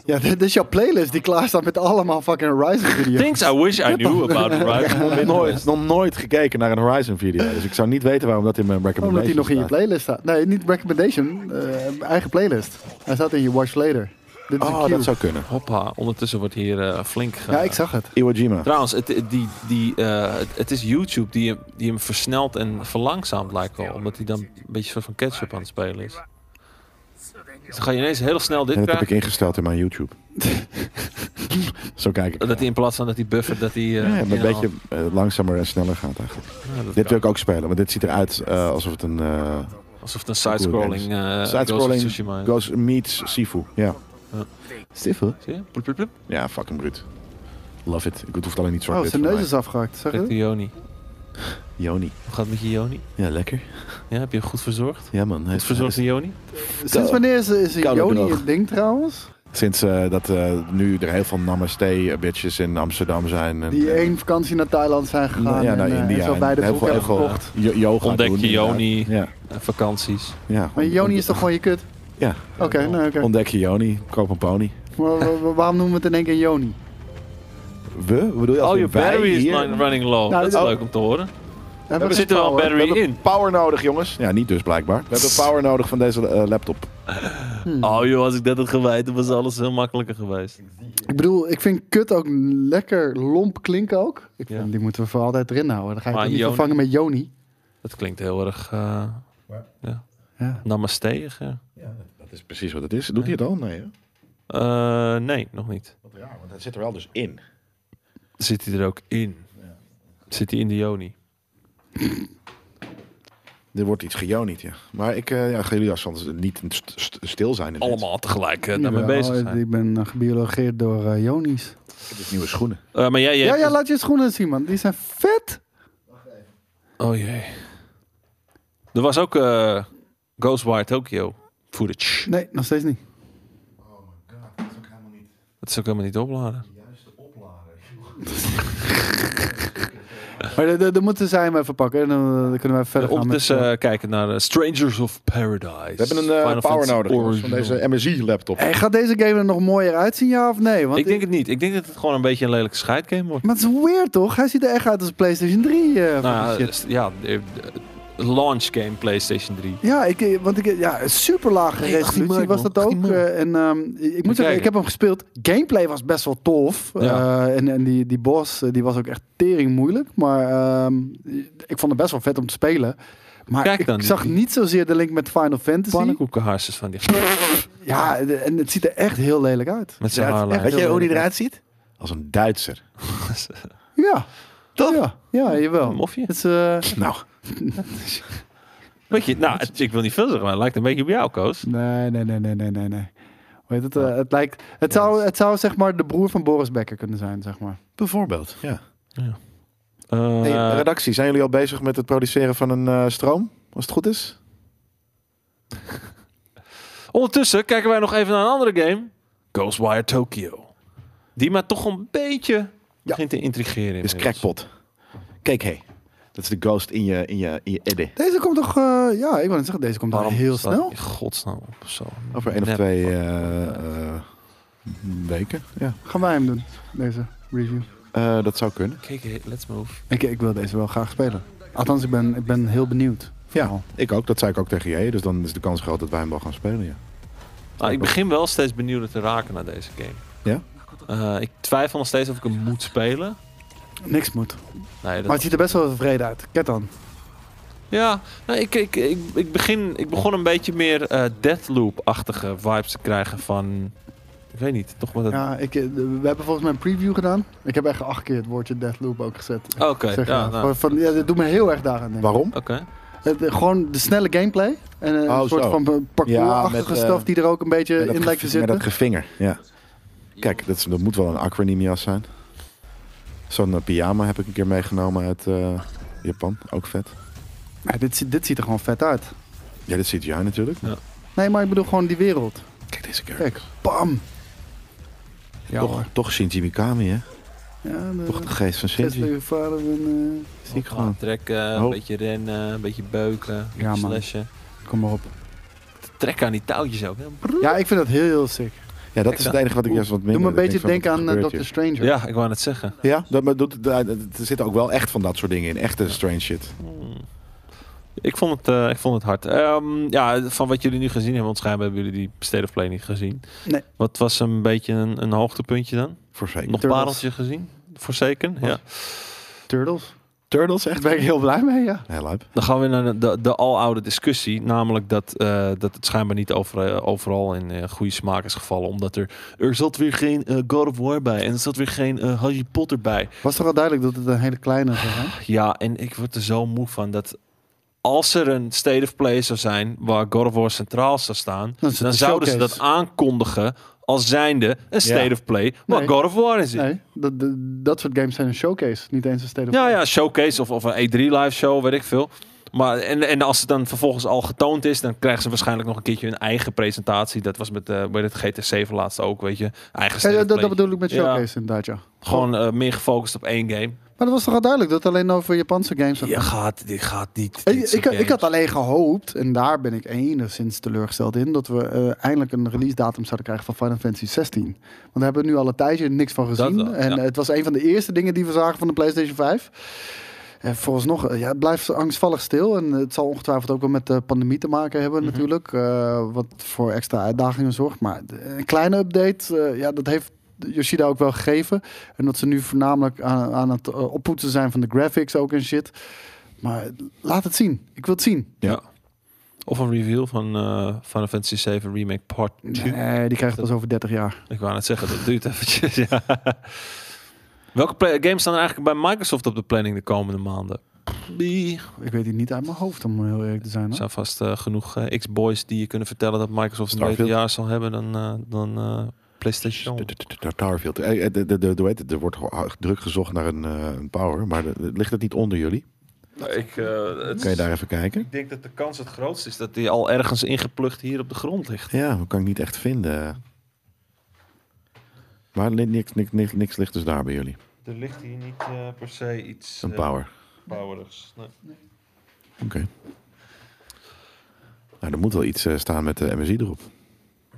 C: Ja, dit is jouw playlist die klaar staat met allemaal fucking Horizon video's.
A: Things I wish I knew about
B: Nog
A: right?
B: nooit, nog nooit gekeken naar een Horizon video. Dus ik zou niet weten waarom dat in mijn
C: Omdat hij
B: recommendation
C: nog in je
B: staat.
C: playlist staat. Nee, niet recommendation, eh, eigen playlist. Hij staat in je watch later. Dit is een
B: Oh,
C: cue.
B: dat zou kunnen.
A: Hoppa, ondertussen wordt hier eh, flink... ge-
C: Ja, ik zag het.
B: Iwo Jima.
A: Trouwens, het, het- die, die, eh, het, het is YouTube die, hem- die hem versnelt en verlangzaamt lijkt wel. Omdat hij dan een beetje soort van catch-up aan het spelen is. Dus dan ga je ineens heel snel dit
B: En dat heb
A: krijgen.
B: ik ingesteld in mijn YouTube. Zo kijk ik.
A: Dat hij in plaats van dat hij buffert, dat hij... eh,
B: Ja, maar een
A: inhaalt.
B: beetje eh, langzamer en sneller gaat eigenlijk.
A: Ja, dat
B: Dit
A: kan.
B: wil ik ook spelen, want dit ziet eruit eh, alsof het een eh
A: Alsof het een side-scrolling... eh Ghost of
B: sidescrolling
A: Tsushima is.
B: goes meets Sifu. Ja.
A: Ja.
B: Sifu?
A: Zie je? Plup, plup, plup.
B: Ja, fucking bruut. Love it. Ik hoef het alleen niet zo
C: Oh, zijn neus is afgehakt. Zag je
A: Zegt
C: dat?
A: de Joni.
B: Joni.
A: Hoe gaat het met je Joni?
B: Ja, lekker.
A: Ja, heb je goed verzorgd?
B: Ja, man. Hij
A: Goed
B: is-
A: verzorgd
B: hij
A: in Joni?
C: Sinds wanneer is, is
B: Koude
C: Joni
B: droog.
C: het ding trouwens?
B: is- Sinds eh, dat eh, nu er heel veel namaste-bitches in Amsterdam zijn. En,
C: Die
B: eh,
C: één vakantie naar Thailand zijn gegaan
B: nou ja, naar
C: en, eh,
B: India.
C: en zo bij de
B: heel
C: broek
B: veel-
C: hebben
B: heel veel,
C: gekocht.
B: eh, yo- yoga
A: Ontdek
B: doen,
A: je
B: inderdaad.
A: Joni.
B: Ja,
A: En vakanties.
B: ja.
C: Maar Joni is toch gewoon je kut?
B: Ja.
C: Oké, nou oké.
B: Ontdek je Joni. Koop een pony.
C: Maar wa- wa- waarom noemen we het in één keer Joni?
B: We? Wat Bedoel je als
A: All
B: in
A: your
B: wij
A: battery is
B: hier?
A: not running low.
C: Nou,
A: dat is
C: dat-
A: leuk om te horen.
C: Hebben
A: Er
C: we
A: zit er wel een
C: power?
A: battery
B: We hebben
A: in.
B: power nodig, jongens. Ja, niet dus blijkbaar. We hebben power nodig van deze eh, laptop.
A: Oh joh, als ik dat had geweten, was alles heel makkelijker geweest.
C: Ik bedoel, ik vind kut ook lekker lomp klinken ook. Ik vind,
A: Ja.
C: Die moeten we voor altijd erin houden. Dan ga je
A: Maar
C: het niet
A: Joni-
C: vervangen met Joni.
A: Dat klinkt heel erg eh
C: Ja.
A: namaste. ja.
B: Dat is precies wat het is. Doet hij het al? Nee, hè?
A: Eh, nee, nog niet.
B: Wat raar, want dat zit er wel dus in.
A: Zit hij er ook in? Zit hij in de Joni?
B: Er wordt iets gejonied, ja. Maar ik eh ja, ga jullie als anders niet st- st- stil zijn. in dit.
A: Allemaal tegelijk eh, daarmee
C: Jawel,
A: bezig zijn.
C: Ik ben eh, gebiologeerd door eh, Joni's.
B: Het is nieuwe schoenen.
A: Eh, maar jij, jij
C: Ja, ja,
A: hebt-
C: laat je schoenen zien, man. Die zijn vet.
A: Oh jee. Er was ook eh Ghostwire Tokyo footage.
C: Nee, nog steeds niet.
A: Dat is ook helemaal niet opladen.
C: Maar dat moeten zij hem even pakken. En dan, eh, dan kunnen we verder gaan. met-
A: Ondertussen eh, kijken naar eh, Strangers of Paradise.
B: We hebben een eh, power nodig jongens, van deze MSI-laptop.
C: Hey, gaat deze game er nog mooier uitzien, ja of nee? Want
A: Ik denk het niet. Ik denk dat het gewoon een beetje een lelijke scheidgame wordt.
C: Maar het is weird, toch? Hij ziet er echt uit als een PlayStation 3. eh, van
A: Nou,
C: die
A: ja,
C: shit.
A: s- ja, eh, eh, launch game PlayStation 3.
C: Ja, ik, eh, want ik, ja, super lage
A: Nee, 18
C: resolutie
A: maart,
C: was
A: man.
C: dat ook.
A: 18 maart.
C: eh, en ehm, ik moet zeggen,
A: kijken.
C: ik heb hem gespeeld. Gameplay was best wel tof.
A: Ja.
C: Eh, en en die, die boss eh, die was ook echt tering moeilijk. Maar ehm, ik vond het best wel vet om te spelen. Maar
A: Kijk dan,
C: ik
A: die-
C: zag niet zozeer de link met Final Fantasy.
A: Pannenkoekenharsjes van die.
C: Ja, de- en het ziet er echt heel lelijk uit.
A: Met zijn
B: Ja, het is
A: haarlijn.
B: echt- Weet jij hoe die
C: eruit ziet?
B: Als een Duitser.
C: Ja. Toch? Ja, ja jawel.
A: Een mofje.
C: Het is, eh,
B: Nou,
A: Weet je, nou, het- ik wil niet veel zeggen, maar het lijkt een beetje op jou, Koos.
C: Nee, nee, nee, nee, nee, nee. nee. Hoe heet het?
A: Oh.
C: eh, het lijkt, het, zou, het zou zeg maar de broer van Boris Becker kunnen zijn, zeg maar.
B: bijvoorbeeld. Ja.
A: Eh,
B: Hey, redactie, zijn jullie al bezig met het produceren van een eh, stroom? Als het goed is?
A: ondertussen kijken wij nog even naar een andere game. Ghostwire Tokyo. Die maar toch een beetje begint te intrigeren.
C: Dus
B: Dit is
A: inmiddels.
B: crackpot. Kijk, hey. Dat is de ghost in je, in je, in je eddy.
C: Deze komt toch, eh, ja, ik wil zeggen, deze komt al
A: Waarom
C: heel
A: staat
C: snel.
A: die godsnaam op zo.
B: Over één of
A: Nep.
B: twee eh, eh, weken. Ja.
C: Gaan wij hem doen, deze review.
B: Eh, dat zou kunnen.
A: Kijk, hey, let's move.
C: Ik, ik wil deze wel graag spelen. Althans, ik ben, ik ben heel benieuwd.
B: Ja, ik ook. Dat zei ik ook tegen jij. Dus dan is de kans groot dat wij hem wel gaan spelen. Ja.
A: Nou, ik begin wel steeds benieuwd te raken naar deze game.
B: Ja?
A: Eh, ik twijfel nog steeds of ik hem moet spelen.
C: Niks moet.
A: Nee, dat
C: Maar het ziet er best wel tevreden uit. Ket dan.
A: Ja, nou, ik, ik, ik, ik, begin, ik begon een beetje meer eh, Deathloop-achtige vibes te krijgen van... Ik weet niet, toch wat het...
C: Ja, ik, eh, we hebben volgens mij een preview gedaan. Ik heb echt acht keer het woordje Deathloop ook gezet.
A: Oké,
C: Zeg
A: ja,
C: maar.
A: nou,
C: Van- van, ja, dat doet me heel erg daaraan denken.
B: Waarom?
A: oké.
C: Het, eh, gewoon de snelle gameplay. En eh, een
B: Oh,
C: soort
B: zo.
C: van parcoursachtige
B: Ja, met, eh,
C: stuff die er ook een beetje
B: Met dat
C: in lijkt te
B: gevi- met
C: zitten.
B: dat gevinger. Ja. Kijk, dat, is- dat moet wel een acronymjas zijn. Zo'n eh, pyjama heb ik een keer meegenomen uit eh, Japan. Ook vet.
C: Ja, dit, zi- dit ziet er gewoon vet uit.
B: Ja, dit ziet jij natuurlijk.
C: Nee, maar ik bedoel gewoon die wereld.
B: Kijk deze keer.
C: Kijk, bam. Ja, hoor.
B: toch, toch Shinji Mikami, hè?
C: Ja, de,
B: Toch de geest van
C: Zes
B: Shinji.
C: tegen vader en... eh,
B: Zie ik gewoon.
A: Trekken,
B: Oh.
A: een beetje rennen, een beetje beuken, een
C: Ja,
A: beetje
C: man.
A: slashen.
C: eh, kom maar op.
A: Trekken aan die touwtjes ook. hè.
C: Ja, ik vind dat heel, heel sick.
B: Ja, dat is het enige wat ik juist wat minder...
C: Doe me een
B: dat ik
C: beetje
B: denk
C: denken
B: van,
C: aan
B: wat
C: eh,
B: gebeurt
C: Dr. Stranger.
A: Ja, ik wou net zeggen.
B: hier? Ja, dat, maar doet, daar- er zitten ook wel echt van dat soort dingen in. Echte strange shit.
A: Hmm. Ik vond het, eh, ik vond het hard. Ehm, ja, van wat jullie nu gezien hebben, want schijnbaar hebben jullie die State of Play niet gezien.
C: Nee.
A: Wat was een beetje een, een hoogtepuntje dan?
B: Voorzeker.
A: Nog
C: Turtles.
A: pareltje gezien? Voorzeker, ja.
C: Turtles.
B: Turtles, echt?
C: Daar ben ik heel blij mee, ja.
B: Heel lijp.
A: Dan gaan we naar de, de, de aloude discussie. Namelijk dat, eh, dat het schijnbaar niet over, eh, overal in eh, goede smaak is gevallen. Omdat er, er zat weer geen eh, God of War bij. En er zat weer geen eh, Harry Potter bij.
C: Was toch al duidelijk dat het een hele kleine zou zijn?
A: Ja, en ik word er zo moe van dat... Als er een State of Play zou zijn waar God of War centraal zou staan...
C: Dan is het
A: dan
C: een
A: zouden ze dat
C: showcase.
A: aankondigen als zijnde een state
B: Ja.
A: of play. Maar
C: Nee.
A: God of War is het.
C: Nee, dat, dat, dat soort games zijn een showcase, niet eens een state of
A: Ja,
C: play.
A: ja, showcase of, of een E3 live show, weet ik veel. Maar, en, en als het dan vervolgens al getoond is, dan krijgen ze waarschijnlijk nog een keertje hun eigen presentatie. Dat was met, eh bij het GT7 laatst ook, weet je. Eigen
C: Ja,
A: state
C: dat,
A: of play.
C: dat bedoel ik met
A: Ja.
C: showcase inderdaad, ja.
A: Gewoon eh, meer gefocust op één game.
C: Maar dat was toch al duidelijk dat het alleen over Japanse games
A: Je gaat, dit gaat niet.
C: Ik,
A: dit
C: ik,
A: soort
C: ik had
A: games.
C: alleen gehoopt, en daar ben ik enigszins teleurgesteld in, dat we eh, eindelijk een release datum zouden krijgen van Final Fantasy 16. Want daar hebben we nu al een tijdje niks van gezien.
A: wel,
C: en
A: ja.
C: eh, het was een van de eerste dingen die we zagen van de PlayStation 5. En vooralsnog, eh, ja, het blijft angstvallig stil. En het zal ongetwijfeld ook wel met de pandemie te maken hebben
A: Mhm.
C: natuurlijk. eh, wat voor extra uitdagingen zorgt. Maar de- een kleine update, eh, ja, dat heeft Yoshida ook wel gegeven. En dat ze nu voornamelijk aan, aan het eh, oppoetsen zijn van de graphics ook en shit. Maar laat het zien. Ik wil het zien.
A: Ja. Of een reveal van eh Final Fantasy 7 Remake Part 2.
C: Nee, die krijgt pas over 30 jaar.
A: Ik wou net zeggen, dat duurt eventjes. Ja. Welke play- games staan er eigenlijk bij Microsoft op de planning de komende maanden? Die
C: Ik weet die niet uit mijn hoofd, om eh, heel eerlijk te zijn.
A: Er
C: Hoor.
A: zijn vast eh, genoeg eh, X-Boys die je kunnen vertellen dat Microsoft een beter
B: Starfield.
A: jaar zal hebben dan, eh, dan eh, PlayStation.
B: Starfield. Eh, eh, de- de- de- de- hoe heet het? Er wordt ho- druk gezocht naar een, eh, een power, maar de- de- ligt het niet onder jullie?
A: Nou, Ik, eh,
B: Kan je daar even kijken?
A: denk dat de kans het grootst is dat die al ergens ingeplucht hier op de grond ligt.
B: Ja, dat kan ik niet echt vinden. Maar li- niks, niks, niks, niks ligt dus daar bij jullie.
A: Er ligt hier niet eh, per se iets eh,
B: Een power.
A: powerigs.
B: Oké. Nou, er moet wel iets eh, staan met de MSI erop.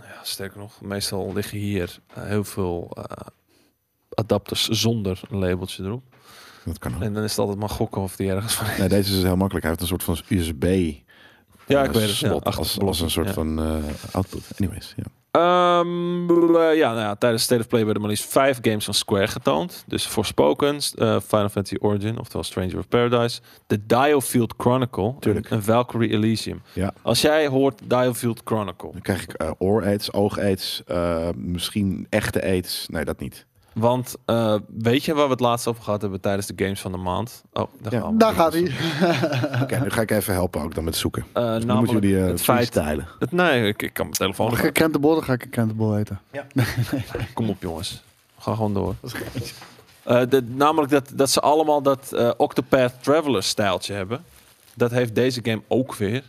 A: Ja, sterker nog, meestal liggen hier eh, heel veel eh, adapters zonder een labeltje erop.
B: Dat kan ook.
A: En dan is het altijd maar gokken of die ergens van is.
B: Nee, deze is dus heel makkelijk. Hij heeft een soort van USB
A: Ja,
B: eh,
A: ik weet het. Ja,
B: slot als, als een soort
A: ja.
B: van eh, output. Anyways, ja.
A: Ehm, bl- eh, ja, nou ja, tijdens State of Play werden maar liefst vijf games van Square getoond. Dus Forspoken, eh, Final Fantasy Origin, oftewel Stranger of Paradise. The Diofield Chronicle
B: Tuurlijk.
A: en, en Valkyrie Elysium.
B: Ja.
A: Als jij hoort Diofield Chronicle,
B: Dan krijg ik oor-aids, oog-aids, eh, misschien echte aids. Nee, dat niet.
A: want eh, weet je waar we het laatst over gehad hebben tijdens de games van de maand? Oh, daar,
B: Ja.
A: gaan we.
C: Daar gaat hij.
B: Oké, nu ga ik even helpen ook dan met zoeken.
A: Eh,
B: Dan
A: namelijk
B: moeten jullie eh,
A: het feit...
B: freestylen.
A: Het, nee, ik, ik kan mijn telefoon...
C: Mag ik een krentenbol, dan ga ik een krentenbol eten.
A: Kom op jongens, ga gewoon door. Eh, de- namelijk dat, dat ze allemaal dat eh, Octopath Traveler stijltje hebben. Dat heeft deze game ook weer.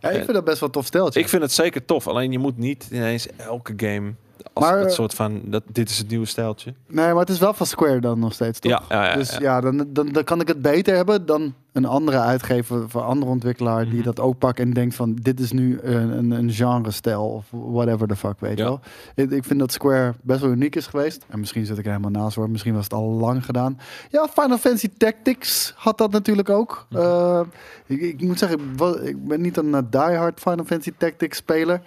C: Ja, ik vind dat best wel tof steltje.
A: Ik vind het zeker tof. Alleen je moet niet ineens elke game als
C: Maar,
A: dat
C: eh,
A: soort van dat dit is het nieuwe stijltje.
C: Nee, maar het is wel van Square dan nog steeds, toch?
A: Ja, ja, ja,
C: dus
A: ja.
C: ja, dan, dan, dan kan ik het beter hebben dan een andere uitgever van andere ontwikkelaar
A: Mhm.
C: die dat ook pakt en denkt van dit is nu een, een, een genre-stijl of whatever the fuck, weet je
A: Ja.
C: wel. Ik, ik vind dat Square best wel uniek is geweest. En misschien zit ik er helemaal naast hoor, misschien was het al lang gedaan. Ja, Final Fantasy Tactics had dat natuurlijk ook.
A: Mhm.
C: Eh, ik, ik moet zeggen, ik, wa- ik ben niet een eh, diehard Final Fantasy Tactics speler.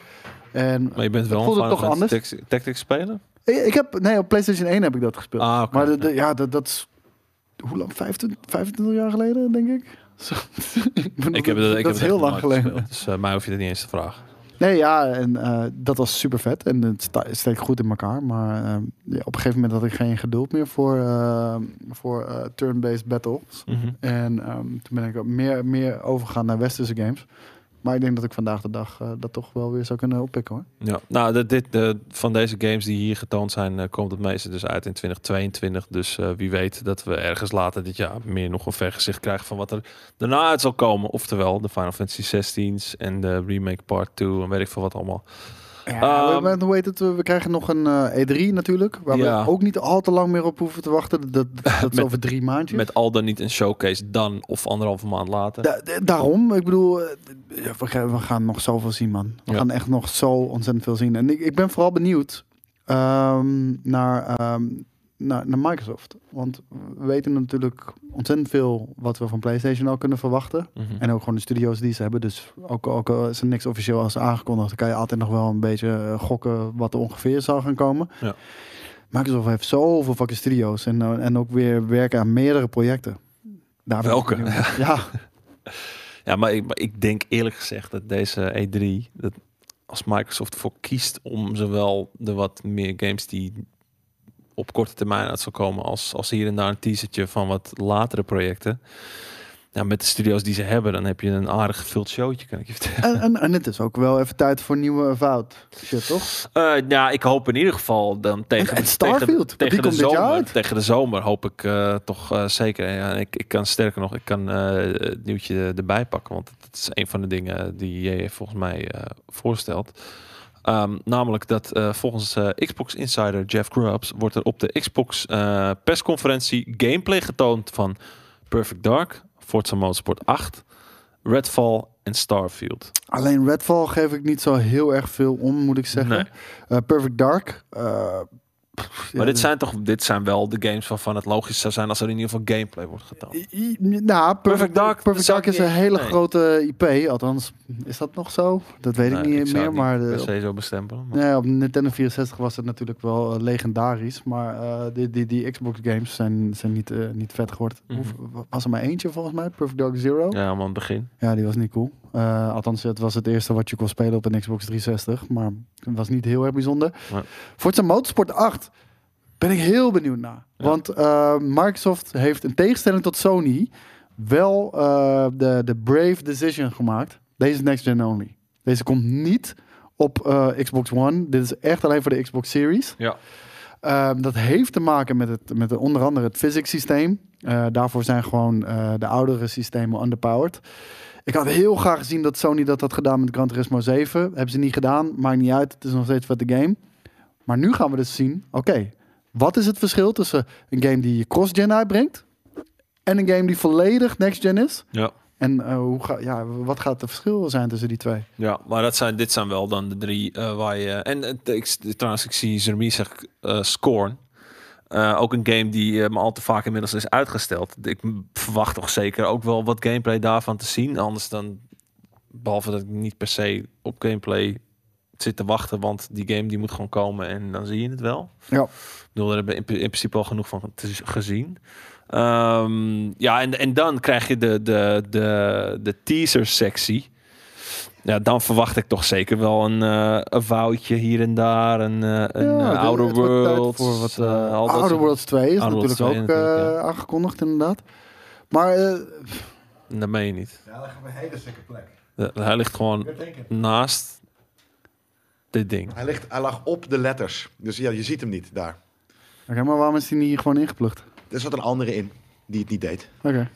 C: En
A: Maar je bent wel een
C: voelde
A: fan
C: toch
A: van
C: anders?
A: tactics, tactics spelen.
C: ik, ik heb, nee, op PlayStation 1 heb ik dat gespeeld.
A: Ah, oké.
C: Maar de- de- ja, dat, dat is. Hoe lang? 25, 25 jaar geleden, denk ik. Zo. ik bedoel,
A: Ik heb dat, ik heb
C: dat is heel lang geleden.
A: Gespeeld, dus eh, mij hoef je dat niet eens te vragen.
C: Nee, ja, en eh, dat was super vet. En het sta- steekt goed in elkaar. Maar eh, ja, op een gegeven moment had ik geen geduld meer voor, eh, voor eh, turn-based battles.
A: Mhm.
C: En ehm, toen ben ik ook meer, meer overgegaan naar westerse games. Maar ik denk dat ik vandaag de dag eh, dat toch wel weer zou kunnen oppikken hoor.
A: Ja, nou, dat dit, eh, van deze games die hier getoond zijn, eh, komt het meeste dus uit in 2022. Dus eh, wie weet dat we ergens later dit jaar meer nog een vergezicht krijgen van wat er daarna uit zal komen. Oftewel de Final Fantasy 16's en de Remake Part 2 en weet ik veel wat allemaal.
C: Ja,
A: Ehm,
C: we- we, hoe heet het? We we krijgen nog een eh, E3 natuurlijk. Waar
A: Ja.
C: we ook niet al te lang meer op hoeven te wachten. Dat, dat, dat is
A: Met-
C: over drie maandjes.
A: Met al dan niet een showcase dan of anderhalve maand later.
C: Da- da- daarom, ik bedoel, eh, ja, we, gaan, we gaan nog zoveel zien, man. We
A: Ja.
C: gaan echt nog zo ontzettend veel zien. En ik, ik ben vooral benieuwd ehm, naar, ehm, naar, naar Microsoft. Want we weten natuurlijk ontzettend veel wat we van PlayStation al kunnen verwachten.
A: Mhm.
C: En ook gewoon de studio's die ze hebben. Dus ook, ook al is er niks officieel als aangekondigd, dan kan je altijd nog wel een beetje eh, gokken wat er ongeveer zal gaan komen.
A: Ja.
C: Microsoft heeft zoveel fucking studio's en, eh, en ook weer werken aan meerdere projecten. Daar ben ik
A: Welke?
C: benieuwd naar. Ja.
A: Ja, maar ik, maar ik denk eerlijk gezegd dat deze E3, dat als Microsoft voor kiest om zowel de wat meer games die op korte termijn uit zal komen, als, als hier en daar een teasertje van wat latere projecten, Nou, met de studio's die ze hebben, dan heb je een aardig gevuld showtje, kan ik je vertellen.
C: En, en, en het is ook wel even tijd voor nieuwe fout. Shit, toch?
A: Eh, nou, ik hoop in ieder geval dan tegen,
C: En- en
A: de-
C: Starfield,
A: tegen, de-
C: want die
A: tegen de
C: komt dit jaar
A: zomer.
C: uit.
A: Tegen de zomer hoop ik eh, toch eh, zeker. En Ja, ik, ik kan sterker nog, ik kan eh, het nieuwtje erbij pakken. Want dat is een van de dingen die jij volgens mij eh, voorstelt. Ehm, namelijk dat eh, volgens eh, Xbox Insider Jeff Grubbs wordt er op de Xbox eh, persconferentie gameplay getoond van Perfect Dark, Forza Motorsport 8, Redfall en Starfield.
C: Alleen Redfall geef ik niet zo heel erg veel om, moet ik zeggen.
A: Nee.
C: Eh, Perfect Dark. eh, pff, ja,
A: Maar dit zijn toch dit zijn wel de games waarvan het logisch zou zijn als er in ieder geval gameplay wordt getoond.
C: I- I- Nou, Perfect
A: Perfect
C: Dark,
A: Dark
C: Perfect
A: zou
C: Dark
A: ik
C: is een
A: niet-
C: hele
A: nee.
C: grote IP. Althans, is dat nog zo? Dat weet ik
A: Nee,
C: niet
A: Nou, zou
C: meer.
A: het
C: maar de-
A: per se zo bestempelen. Maar
C: nee, op Nintendo 64 was het natuurlijk wel eh, legendarisch. Maar eh, die, die, die Xbox games zijn, zijn niet, eh, niet vet geworden.
A: Mhm.
C: Hoe- Was er maar eentje volgens mij? Perfect Dark Zero? Ja,
A: Ja, maar aan het begin.
C: die was niet cool. Eh, althans, het was het eerste wat je kon spelen op een Xbox 360. Maar het was niet heel erg bijzonder.
A: Nee.
C: Forza Motorsport 8 ben ik heel benieuwd naar.
A: Ja.
C: Want eh, Microsoft heeft in tegenstelling tot Sony wel eh, de, de brave decision gemaakt. Deze is next gen only. Deze komt niet op eh, Xbox One. Dit is echt alleen voor de Xbox Series.
A: Ja.
C: Ehm, dat heeft te maken met, het, met de- onder andere het physics systeem. Eh, daarvoor zijn gewoon eh, de oudere systemen underpowered. Ik had heel graag gezien dat Sony dat had gedaan met Gran Turismo 7. Hebben ze niet gedaan, maakt niet uit. Het is nog steeds wat de game. Maar nu gaan we dus zien, oké, wat is het verschil tussen een game die je cross-gen uitbrengt en een game die volledig next-gen is?
A: Ja.
C: En eh, hoe ga, ja, wat gaat het verschil zijn tussen die twee?
A: Ja, maar dat zijn, dit zijn wel dan de drie eh, waar je... En eh, ik, trouwens, ik zie Zermie zegt eh, Scorn. Eh, ook een game die eh, me al te vaak inmiddels is uitgesteld. Ik m- verwacht toch zeker ook wel wat gameplay daarvan te zien. Anders dan, behalve dat ik niet per se op gameplay zit te wachten. Want die game die moet gewoon komen en dan zie je het wel.
C: Ja.
A: Ik bedoel, daar hebben we in, in principe al genoeg van te- gezien. Ehm, ja, en, en dan krijg je de, de, de, de teaser-sectie. Ja, dan verwacht ik toch zeker wel een, eh een woutje hier en daar. Een, eh, een
C: Ja,
A: eh,
C: het-
A: Outer
C: het wordt tijd
A: Worlds.
C: voor wat,
A: eh,
C: eh,
A: al dat
C: Outer
A: soort-
C: Worlds 2 is
A: Outer Worlds
C: natuurlijk ook
A: 2 natuurlijk,
C: eh, aangekondigd, inderdaad. Maar eh,
A: Dat meen je niet.
B: Ja, dat gaat een hele sikke plek.
A: Eh, Hij ligt gewoon naast dit ding.
B: Hij, ligt, hij lag op de letters. Dus ja, je ziet hem niet daar.
C: oké, maar waarom is die niet hier gewoon ingeplucht?
B: Er zat een andere in die het niet deed.
C: Oké.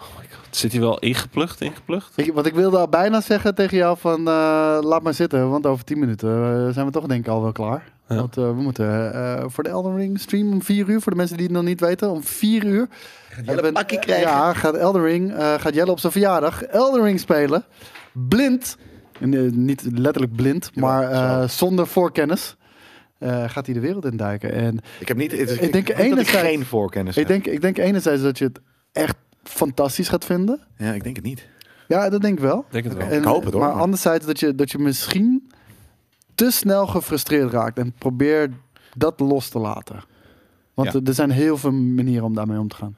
A: Oh my God. Zit hij wel ingeplucht, ingeplucht?
C: Ik- Want ik wilde al bijna zeggen tegen jou van eh, laat maar zitten, want over 10 minuten eh, zijn we toch denk ik al wel klaar.
A: Ja.
C: Want eh, we moeten eh, voor de Elden Ring stream om 4 uur, voor de mensen die het nog niet weten, om 4 uur.
B: Jelle
C: hebben-
B: een pakje krijgen.
C: Ja, gaat Elden Ring, eh, gaat Jelle op zijn verjaardag Elden Ring spelen, blind, En, eh, niet letterlijk blind, maar eh, zonder voorkennis, eh, gaat hij de wereld induiken. En
B: Ik heb niet. Ik,
C: denk
B: denk dat ik
C: enerzijds-
B: geen voorkennis
C: ik
B: heb.
C: denk, ik denk enerzijds dat je het echt fantastisch gaat vinden.
B: Ja, ik denk het niet.
C: Ja, dat denk ik wel.
A: Ik denk het wel.
C: En-
B: Ik hoop het, hoor.
C: Maar anderzijds dat je, dat je misschien te snel gefrustreerd raakt. En probeer dat los te laten. Want
B: Ja.
C: er- er zijn heel veel manieren om daarmee om te gaan.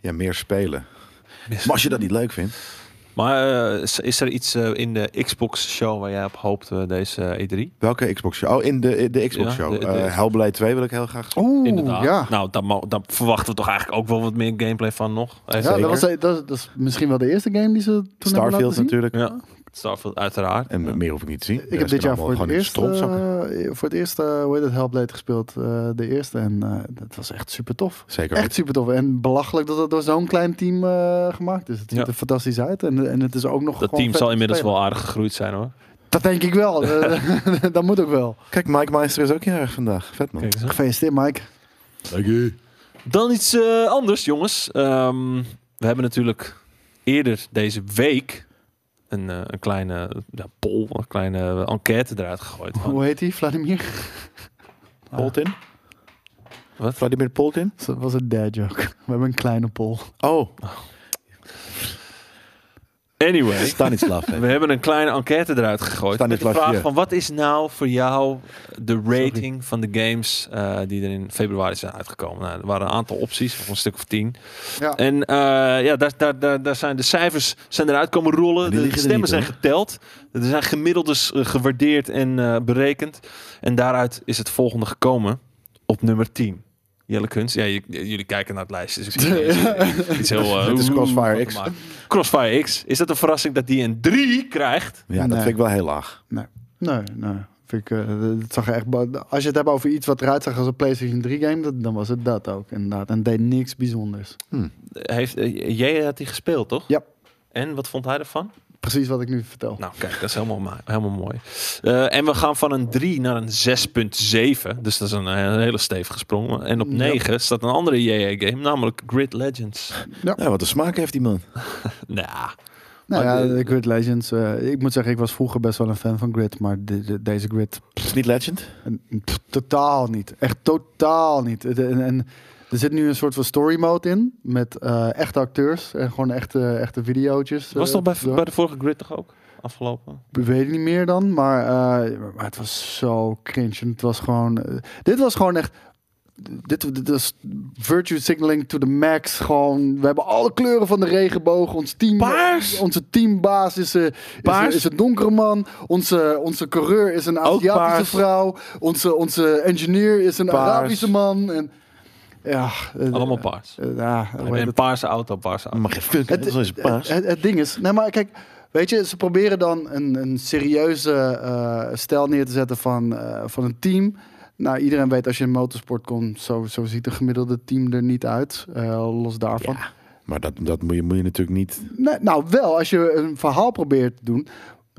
B: Ja, meer spelen. Maar als je dat niet leuk vindt.
A: Maar eh, is- is er iets eh, in de Xbox-show waar jij op hoopt eh, deze E3?
B: Welke Xbox show? Oh, in de, de Xbox show.
A: Ja, de- de-
B: Eh, Hellblade 2 wil ik heel graag zien.
C: Oeh,
A: Inderdaad.
C: ja.
A: Nou, dan, mo- dan verwachten we toch eigenlijk ook wel wat meer gameplay van nog. Eh,
C: ja
A: zeker.
C: dat, was, dat, dat is misschien wel de eerste game die ze toen hebben laten
B: Starfield
C: zien.
B: natuurlijk.
A: Ja, Starfield uiteraard.
B: En meer hoef ik niet te zien.
C: Ik heb dit jaar voor het, eerst, eh, voor het eerst, eh, hoe heet het, Hellblade gespeeld. eh, de eerste. En eh, dat was echt super tof.
B: Zeker.
C: Echt super tof. En belachelijk dat het door zo'n klein team eh, gemaakt is. Het ziet
A: Ja.
C: er fantastisch uit. En, en het is ook nog
A: Dat
C: gewoon
A: team
C: vet
A: zal
C: om te
A: inmiddels
C: spelen.
A: wel aardig gegroeid zijn hoor.
C: Dat denk ik wel. Eh, dat moet ook wel.
B: Kijk, Mike Meister is ook jarig vandaag. Vet man.
A: Kijk eens aan.
C: Gefeliciteerd, Mike.
A: Dan iets eh, anders, jongens. Ehm, we hebben natuurlijk eerder deze week een, eh, een kleine ja, poll, een kleine eh, enquête eruit gegooid. van-
C: Hoe heet hij? Vladimir?
B: Poltin?
A: Wat?
B: Vladimir Poltin?
C: Dat was een dad joke. We hebben een kleine pol.
B: Oh,
A: Anyway,
E: Stanislav.
A: we hebben een kleine enquête eruit gegooid. Met de
B: Stanislas
A: vraag
B: hier.
A: van wat is nou voor jou de rating van de games eh, die er in februari zijn uitgekomen? Nou, er waren een aantal opties, of een stuk of tien.
C: Ja.
A: En eh, ja, daar, daar, daar, daar zijn de cijfers zijn eruit komen rollen.
E: En die
A: De
E: liggen er
A: stemmen
E: niet,
A: zijn
E: hoor.
A: geteld. Er zijn gemiddeldes eh, gewaardeerd en eh, berekend. En daaruit is het volgende gekomen op nummer 10. Jelle Kunst. Ja, je- jullie kijken naar het lijstje. Dus ik zie ineens iets heel... eh,
B: Het is Crossfire
A: van te
B: X.
A: maken. Crossfire X. Is dat een verrassing dat die een 3 krijgt?
B: Ja, dat
C: Nee.
B: vind ik wel heel laag.
C: Nee, nee, nee. Vind ik, eh, het zag er echt bo- als je het hebt over iets wat eruit zag als een PlayStation 3 game, dat- dan was het dat ook inderdaad. En het deed niks bijzonders.
A: Heeft, eh, jij had die gespeeld, toch?
C: Ja.
A: En wat vond hij ervan?
C: Precies wat ik nu vertel.
A: Nou, kijk, dat is helemaal, ma- helemaal mooi. Eh, en we gaan van een 3 naar een 6.7. Dus dat is een, eh, een hele stevige sprong. En op
C: Ja.
A: 9 staat een andere JJ-game, namelijk Grid Legends.
B: Ja, wat een smaak heeft die man.
A: Nou, maar
C: nou ja,
A: de-
C: de Grid Legends. eh, ik moet zeggen, ik was vroeger best wel een fan van Grid, maar de- de- deze Grid
B: Is het niet legend?
C: En, pff, totaal niet. Echt totaal niet. Het- En, en er zit nu een soort van story mode in. Met eh, echte acteurs en gewoon echte, echte videootjes.
A: was
C: eh,
A: toch bij,
C: zo.
A: bij de vorige Grid toch ook? Afgelopen.
C: Ik weet het niet meer dan, maar, eh, maar het was zo cringe. En het was gewoon... eh, dit was gewoon echt... Dit, dit was virtue signaling to the max. Gewoon, we hebben alle kleuren van de regenboog. Ons team,
A: Paars?
C: Onze teambaas is, eh, is,
A: Paars?
C: is een donkere man. Onze, onze coureur is een Aziatische
A: paars.
C: vrouw. Onze, onze engineer is een
B: Paars.
C: Arabische man. En, ja, eh,
A: Allemaal paars.
C: eh, ja, hoe heet
A: En
C: het?
A: een paarse auto, paarse auto.
B: Mag je fuck,
C: Het-
B: dat is eh, een paas.
C: Het, het ding is, nee, maar kijk, weet je, ze proberen dan een, een serieuze eh, stijl neer te zetten van, eh, van een team. Nou, iedereen weet als je in motorsport komt, zo, zo ziet een gemiddelde team er niet uit. eh, los daarvan.
B: Maar dat, dat moet, je, moet je natuurlijk niet...
C: Nee, nou, wel als je een verhaal probeert te doen.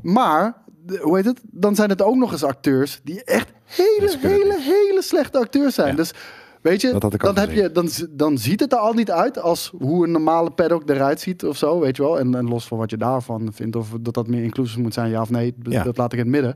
C: Maar, de- hoe heet het? Dan zijn het ook nog eens acteurs die echt hele,
B: kunnen het
C: hele, hele slechte acteurs zijn.
B: Ja.
C: Dus weet je,
B: Dat had ik
C: dan,
B: ook
C: heb
B: gezien.
C: je dan, z- dan ziet het er al niet uit als hoe een normale paddock eruit ziet of zo, weet je wel. En, en los van wat je daarvan vindt of dat dat meer inclusief moet zijn, ja of nee, d-
B: Ja.
C: dat laat ik in het midden.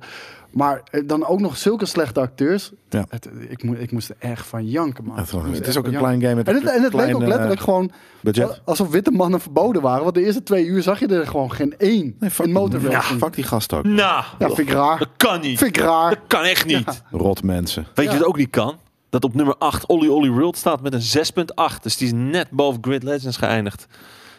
C: Maar eh, dan ook nog zulke slechte acteurs.
B: Ja.
C: Het- ik, mo- ik moest er echt van janken, man.
B: Het is
C: Ik
B: gewoon-
C: moest
B: het
C: er
B: is
C: echt
B: ook een
C: van janken.
B: klein game met
C: En het, en
B: een
C: het leek
B: klein
C: ook
B: eh,
C: letterlijk gewoon
B: budget.
C: Alsof witte mannen verboden waren. Want de eerste twee uur zag je er gewoon geen één
B: Nee, fuck,
C: in
B: die, ja,
C: motorracing.
B: fuck die gast ook.
A: Nou,
C: Ja, vind ik raar.
A: dat kan niet.
C: Vind ik raar.
A: Dat kan echt niet.
B: Rot mensen.
A: Weet je wat ook niet kan? Dat op nummer 8 Olly Olly World staat met een 6.8. Dus die is net boven Grid Legends geëindigd.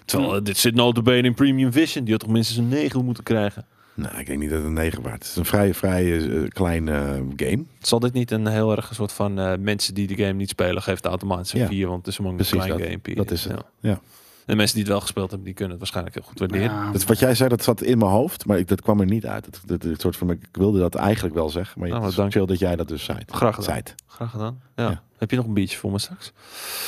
A: Terwijl,
C: Hm.
A: eh, dit zit notabene in Premium Vision. Die had toch minstens een 9 moeten krijgen.
B: Nou, ik denk niet dat het een 9 waard is. Het is een vrij, vrij eh, klein eh, game.
A: Zal dit niet een heel erg een soort van eh, mensen die de game niet spelen, geeft automatisch een
B: Ja.
A: 4, want het is een
B: Precies
A: klein
B: dat.
A: gamepje.
B: Dat is het.
A: Ja.
B: Ja.
A: En mensen die het wel gespeeld hebben, die kunnen het waarschijnlijk heel goed waarderen.
C: Ja,
B: Dat, wat jij zei, dat zat in mijn hoofd, maar ik, dat kwam er niet uit. Dat, dat, dat soort van, ik wilde dat eigenlijk wel zeggen, maar
A: Nou,
B: het is
A: dank.
B: chill dat jij dat dus zei.
A: Graag gedaan.
B: Zei het.
A: Graag gedaan. Ja.
B: Ja.
A: Heb je nog een biertje voor me straks?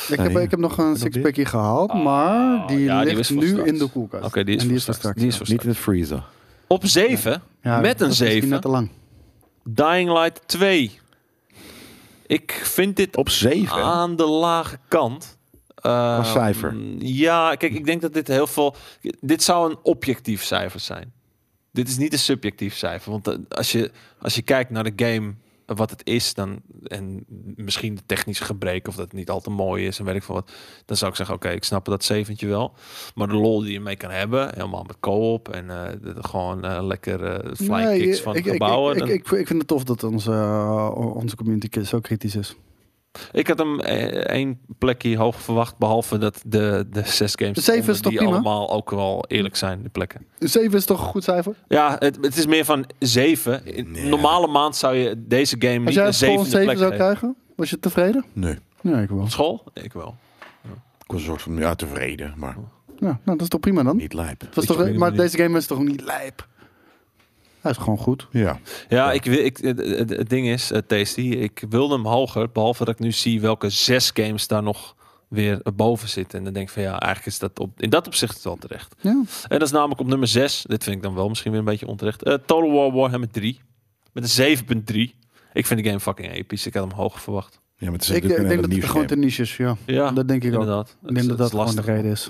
C: ik, heb,
B: Nee.
C: ik heb nog een sixpackje gehaald, maar die
A: ja, die
C: ligt
A: is voor
C: nu
A: straks.
C: in de koelkast.
A: Oh. Oké, die is
C: En
A: voor
C: voor
A: straks. Die is voor
B: Niet
A: straks.
B: in de freezer.
A: Op 7,
C: Ja,
A: met
C: dat
A: een
C: is misschien
A: 7,
C: net te lang.
A: Dying Light 2. Ik vind dit
B: Op 7.
A: aan de lage kant. Ehm,
B: cijfer.
A: Ja, kijk, ik denk dat dit heel veel. Dit zou een objectief cijfer zijn. Dit is niet een subjectief cijfer. Want eh, als je, als je kijkt naar de game, eh, wat het is, dan. En misschien de technische gebreken, of dat het niet al te mooi is en weet ik veel wat. Dan zou ik zeggen, oké, ik snap dat zeventje wel. Maar de lol die je mee kan hebben, helemaal met co-op en eh, de- de- gewoon eh, lekker eh fly
C: Nee,
A: kicks van
C: ik, ik,
A: gebouwen.
C: Ik,
A: dan-
C: ik, ik, ik vind het tof dat onze, eh, onze community zo kritisch is.
A: Ik had hem eh, één plekje hoog verwacht, behalve dat de, de zes games
C: De zeven is
A: eronder,
C: toch
A: die
C: prima?
A: allemaal ook wel eerlijk zijn, de plekken.
C: Een 7 is toch een goed cijfer?
A: Ja, het, het is meer van zeven. In normale maand zou je deze game
C: Als
A: niet
C: jij
A: een
C: op school een
A: zevende
C: 7
A: plek
C: zou
A: geven.
C: krijgen, was je tevreden?
B: Nee. Ik
C: Nee, ik wel.
A: Op school? Ik wel.
B: was een soort van, ja, tevreden, maar
A: Oh.
C: Ja, nou, dat is toch prima dan?
B: niet lijp.
C: Het was
A: Ik
C: toch,
A: weet het
C: maar
A: niet.
C: deze game is toch niet lijp? Hij is gewoon goed.
B: Ja.
A: Ja, ik, wil- ik, het, het- het ding is, eh, Tasty, ik wilde hem hoger, behalve dat ik nu zie welke zes games daar nog weer boven zitten. En dan denk ik van ja, eigenlijk is dat op, in dat opzicht wel terecht.
C: Ja.
A: En dat is namelijk op nummer 6. Dit vind ik dan wel misschien weer een beetje onterecht. Eh, Total War Warhammer 3. Met een 7.3. Ik vind de game fucking episch. Ik had hem hoger verwacht.
B: Ja, maar het is
C: Ik, eh,
B: natuurlijk
C: ik
B: een
C: denk
B: hele
C: dat
B: nieuw
C: het gewoon
B: game.
C: te niche is, ja.
A: Ja,
C: Dat denk ik ook.
A: inderdaad.
C: Ik denk dat dat gewoon de reden is.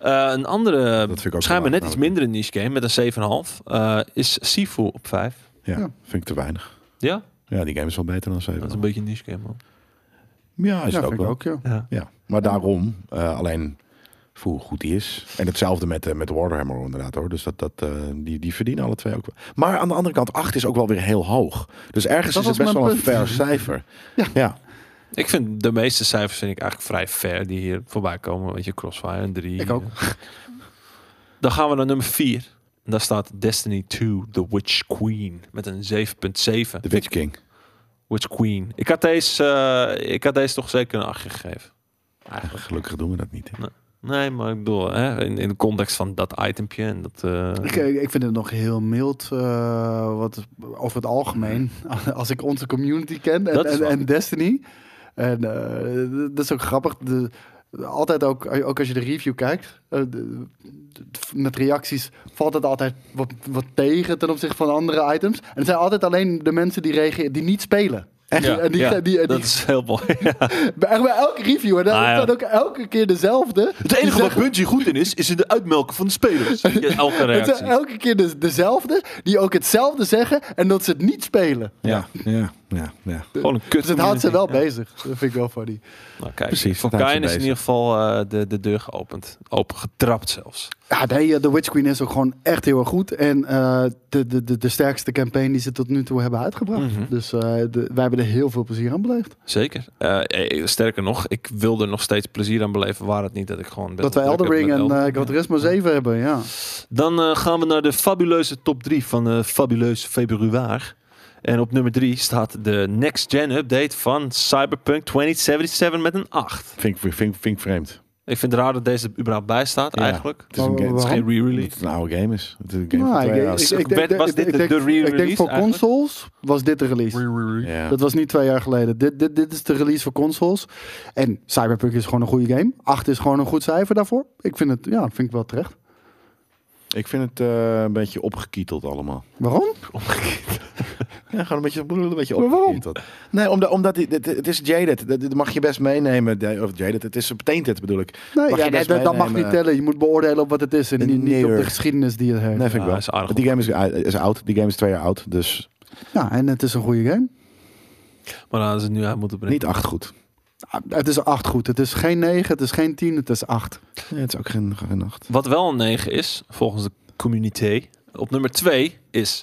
A: Eh, een andere,
B: vind ik ook
A: schijnbaar
B: wel
A: net
B: leuk,
A: iets minder een niche game, met een 7,5, eh, is Sifu op 5.
B: Ja,
C: Ja.
B: vind ik te weinig.
A: Ja,
B: Ja, die game is wel beter dan
A: dat is
B: 7.
A: een beetje een niche game, man.
B: Ja, is
C: Ja,
B: het
C: vind
B: ook
C: ik
B: wel.
C: ook, ja.
B: Ja, maar daarom, eh, alleen voor hoe goed die is. En hetzelfde met, eh, met Warhammer inderdaad hoor. Dus dat, dat, eh, die, die verdienen alle twee ook wel. Maar aan de andere kant, 8 is ook wel weer heel hoog. Dus ergens
C: Dat
B: is het
C: was
B: best wel
C: mijn
B: een
C: punt.
B: fair cijfer.
C: Ja.
A: Ik vind de meeste cijfers vind ik eigenlijk vrij fair die hier voorbij komen. Weet je, Crossfire en 3.
C: Ik ook.
A: Dan gaan we naar nummer 4. Daar staat Destiny 2, The Witch Queen, met een 7.7.
B: De Witch King.
A: Which Queen. Ik had deze, eh, ik had deze toch zeker een 8 gegeven. Eigenlijk.
D: Gelukkig doen we dat niet. hè.
A: Nee, maar ik bedoel, hè, in, in de context van dat itempje en dat... eh,
C: Ik, ik vind het nog heel mild eh, wat, over het algemeen. Als ik onze community ken en,
A: Dat is
C: en,
A: waar.
C: en Destiny. En eh, dat is ook grappig. De, altijd ook, eh, ook als je de review kijkt, eh, de- de- met reacties valt het altijd wat, wat tegen ten opzichte van andere items. En het zijn altijd alleen de mensen die reageren, die niet spelen.
A: ja,
C: en die,
A: ja,
C: die, die,
A: dat is heel mooi. Ja.
C: bij- echt bij elke review, en dan
A: Ah, ja.
C: dan ook elke keer dezelfde.
A: Het enige wat Bungie goed in is, is in de uitmelken van de spelers. Ja, elke
C: Het
A: reactie.
C: zijn elke keer de, dezelfde, die ook hetzelfde zeggen en dat ze het niet spelen.
D: Ja, ja, ja. ja.
A: Gewoon een kut.
C: Dus het houdt ze wel bezig. Dat vind ik wel funny.
A: Nou, kijk,
D: Precies,
A: Voor
D: dat houdt ze
A: Kain is in
D: bezig.
A: ieder geval eh, de, de deur geopend. Open getrapt zelfs.
C: Ja, nee, eh, The Witch Queen is ook gewoon echt heel erg goed. En eh, de, de, de, de sterkste campaign die ze tot nu toe hebben uitgebracht.
A: Mhm.
C: Dus eh, de- wij hebben er heel veel plezier aan beleefd.
A: Zeker. Eh, eh, sterker nog, ik wilde er nog steeds plezier aan beleven. Waar het niet dat ik gewoon... best
C: dat wij
A: wel
C: Elden
A: druk
C: Ring
A: heb
C: en
A: met
C: eh
A: Elden.
C: Gran Turismo 7 hebben, ja.
A: Dan eh, gaan we naar de fabuleuze top 3 van de fabuleuze februari. En op nummer 3 staat de next gen update van Cyberpunk 2077 met een 8.
D: Vind, ik- vind, vind ik vreemd.
A: Ik vind het raar dat deze er überhaupt bij staat
D: Ja.
A: eigenlijk.
D: Het is een, game,
A: Het is
C: Waarom?
A: geen re-release.
D: het is een oude game is. Het is een game van
C: Nou,
D: twee
C: ik-
D: jaar.
C: ik-
D: oud.
C: ik denk-
A: Werd- was dit
C: ik
A: de
C: denk- Ik denk
A: re-release
C: voor
A: eigenlijk?
C: consoles was dit de release.
D: Ja.
C: Dat was niet twee jaar geleden. Dit, dit, dit is de release voor consoles. En Cyberpunk is gewoon een goede game. 8 is gewoon een goed cijfer daarvoor. Ik vind het, ja, vind ik wel terecht.
D: Ik vind het eh, een beetje opgekieteld allemaal.
C: Waarom?
D: Ja, gewoon een beetje, een beetje
C: Maar waarom?
D: opgekieteld. Nee, omdat, omdat het, het, het is jaded. Dat, dat mag je best meenemen. De- Of jaded, het is tainted bedoel ik.
C: Nee,
D: Mag
C: ja,
D: je
C: dat,
D: best
C: dat mag
D: meenemen.
C: niet tellen. Je moet beoordelen op wat het is en niet, niet op
D: Nee.
C: de geschiedenis die het heeft.
D: Nee, vind
A: Ah,
D: ik wel.
A: is aardig.
D: Die game is, is oud. Die game is twee jaar oud. Dus
C: Ja, en het is een goede game.
A: Maar dan hadden ze het nu uit moeten brengen.
D: niet acht goed.
C: Ah, Het is 8 goed. Het is geen 9, het is geen 10, het is 8.
D: Nee, het is ook geen, geen acht.
A: Wat wel een 9 is, volgens de community, op nummer 2 is...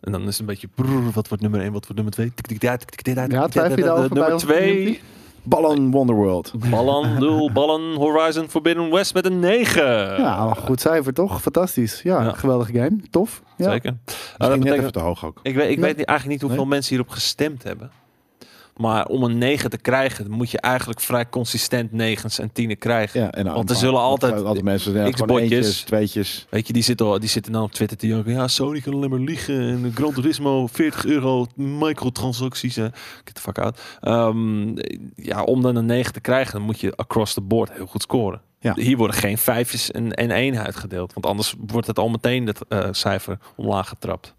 A: En dan is het een beetje... brrr, wat wordt nummer 1, wat wordt nummer 2?
C: Ja, twijfel je daarover bij
A: Nummer
C: ons
A: 2,
C: community?
D: Ballon
A: Oh,
D: Wonderworld.
A: Ballan, Doel, Ballan, Horizon Forbidden West met een 9.
C: Ja, een goed cijfer toch? Fantastisch. Ja,
A: Ja.
C: geweldige game. Tof. Ja.
A: Zeker. Nou, dat
D: Misschien net
A: betekent,
D: even te hoog ook.
A: ik weet, ik
C: Nee.
A: weet niet, eigenlijk niet hoeveel mensen hierop gestemd hebben. Maar om een 9 te krijgen, moet je eigenlijk vrij consistent 9's en 10's krijgen.
D: Ja, en
A: Want er zullen altijd-
D: altijd mensen zijn.
A: X-botjes.
D: Gewoon eentjes, tweetjes.
A: Weet je, die zitten, al- die zitten dan op Twitter te janken. Ja, Sony kan alleen maar liegen. En Gran Turismo, 40 euro, microtransacties. eh. Get the fuck out. Ehm, ja, om dan een 9 te krijgen, dan moet je across the board heel goed scoren.
D: Ja.
A: Hier worden geen vijfjes en, en één uitgedeeld. Want anders wordt het al meteen dat eh, cijfer omlaag getrapt.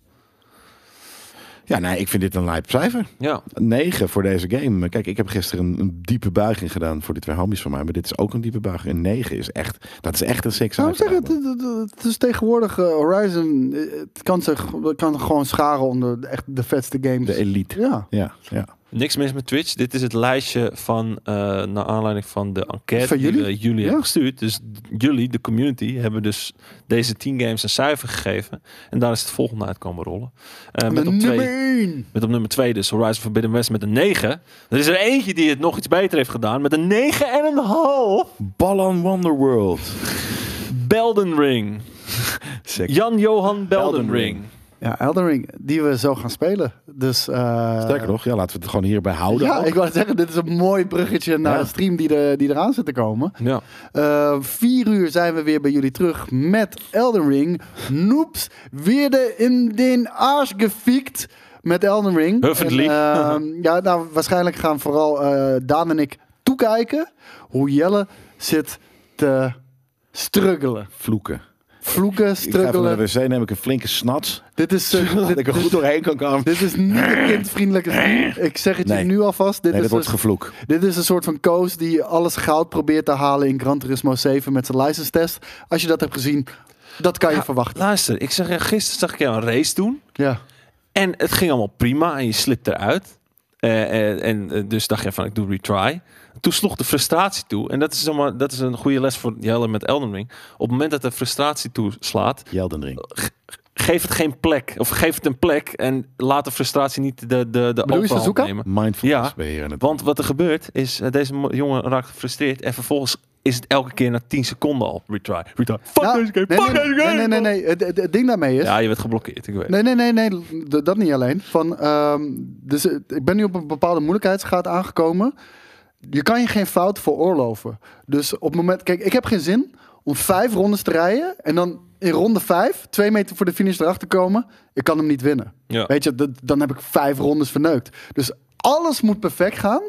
D: Ja, nee, ik vind dit een lijp cijfer.
A: Ja,
D: 9 voor deze game. Kijk, ik heb gisteren een, een diepe buiging gedaan voor die twee homies van mij. Maar dit is ook een diepe buiging. Een 9 is echt, dat is echt een 6.
C: Nou, ik zeg het, het, het- het is tegenwoordig eh, Horizon. eh, Het kan, zich, het kan gewoon scharen onder de- echt de vetste games.
D: De elite.
C: ja.
D: Ja, ja.
A: niks mis met Twitch. Dit is het lijstje van, eh naar aanleiding van de enquête
C: Van
A: die
C: jullie?
A: we jullie
C: Ja.
A: hebben gestuurd. Dus d- jullie, de community, hebben dus deze 10 games een cijfer gegeven. En daar is het volgende uit komen rollen. Eh,
C: De
A: met, op
C: nummer
A: twee,
C: 1.
A: met op nummer 2 dus Horizon Forbidden West met een 9. Er is er eentje die het nog iets beter heeft gedaan met een 9 en een half.
D: Ballon Wonderworld.
A: Belden Ring.
D: Sick.
A: Jan-Johan Belden
D: Belden
A: Ring.
D: Ring.
C: Ja, Elden Ring, die we zo gaan spelen. Dus, eh,
D: Sterker nog, ja, laten we het gewoon hierbij houden.
C: Ja,
D: ook.
C: ik wou net zeggen, dit is een mooi bruggetje naar
D: Ja.
C: de stream die, er die eraan zit te komen.
A: Ja.
C: Eh, vier uur zijn we weer bij jullie terug met Elden Ring. Noeps, weer de in den aas gefikt met Elden Ring.
A: Huffendly.
C: En, eh, ja, nou, waarschijnlijk gaan vooral eh, Daan en ik toekijken hoe Jelle zit te struggelen.
D: Vloeken.
C: Vloeken,
D: Ik ga even naar
C: struggelen.
D: de wc, neem ik een flinke snats.
C: Dit is, eh,
D: Zodat
C: dit,
D: ik er goed
C: dit-
D: doorheen kan komen.
C: dit is niet een kindvriendelijke stream. Ik zeg het je
D: Nee.
C: nu alvast. Dit
D: Nee,
C: is
D: dat wordt
C: dus-
D: gevloek.
C: dit is een soort van coach die alles goud probeert te halen in Gran Turismo 7 met zijn license test. Als je dat hebt gezien, dat kan je
A: Ja,
C: verwachten.
A: Luister, ik zeg, eh, gisteren zag ik jou een race doen.
C: Ja.
A: En het ging allemaal prima en je slipt eruit. Eh, eh, en eh, dus dacht je van, ik doe retry. Toen sloeg de frustratie toe. En dat is, zeg maar, dat is een goede les voor Jelle met Elden Ring. Op het moment dat de frustratie toeslaat,
D: Jelden Ring.
A: geef het geen plek. Of geef het een plek en laat de frustratie niet de, de, de
C: je
A: overhand
C: Suzuka?
A: nemen.
B: Mindfulness
A: Ja,
B: beheren. Het.
A: Want wat er gebeurt is, eh, deze mo- jongen raakt gefrustreerd en vervolgens is het elke keer na 10 seconden al retry. retry. Fuck
C: Nou,
A: deze game,
C: nee,
A: fuck
C: nee,
A: deze
C: nee,
A: game!
C: nee, nee, nee. Het, het- het ding daarmee is.
A: Ja, je werd geblokkeerd, ik weet het.
C: Nee, nee, nee, nee. d- Dat niet alleen. Van, ehm, dus eh, ik ben nu op een bepaalde moeilijkheidsgraad aangekomen. Je kan je geen fout veroorloven. Dus op het moment... Kijk, ik heb geen zin om vijf rondes te rijden... en dan in ronde vijf, twee meter voor de finish erachter komen... ik kan hem niet winnen.
A: Ja.
C: Weet je, dat, dan heb ik vijf rondes verneukt. Dus alles moet perfect gaan.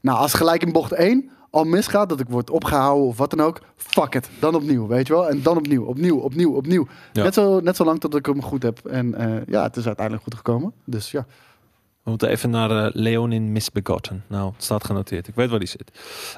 C: Nou, als gelijk in bocht één al misgaat, dat ik word opgehouden of wat dan ook... fuck it, dan opnieuw, weet je wel? En dan opnieuw, opnieuw, opnieuw, opnieuw.
A: Ja.
C: Net, zo, net zo lang tot ik hem goed heb. En eh, ja, het is uiteindelijk goed gekomen. Dus ja.
A: We moeten even naar eh, Leonin Misbegotten. Nou, het staat genoteerd. Ik weet waar die zit.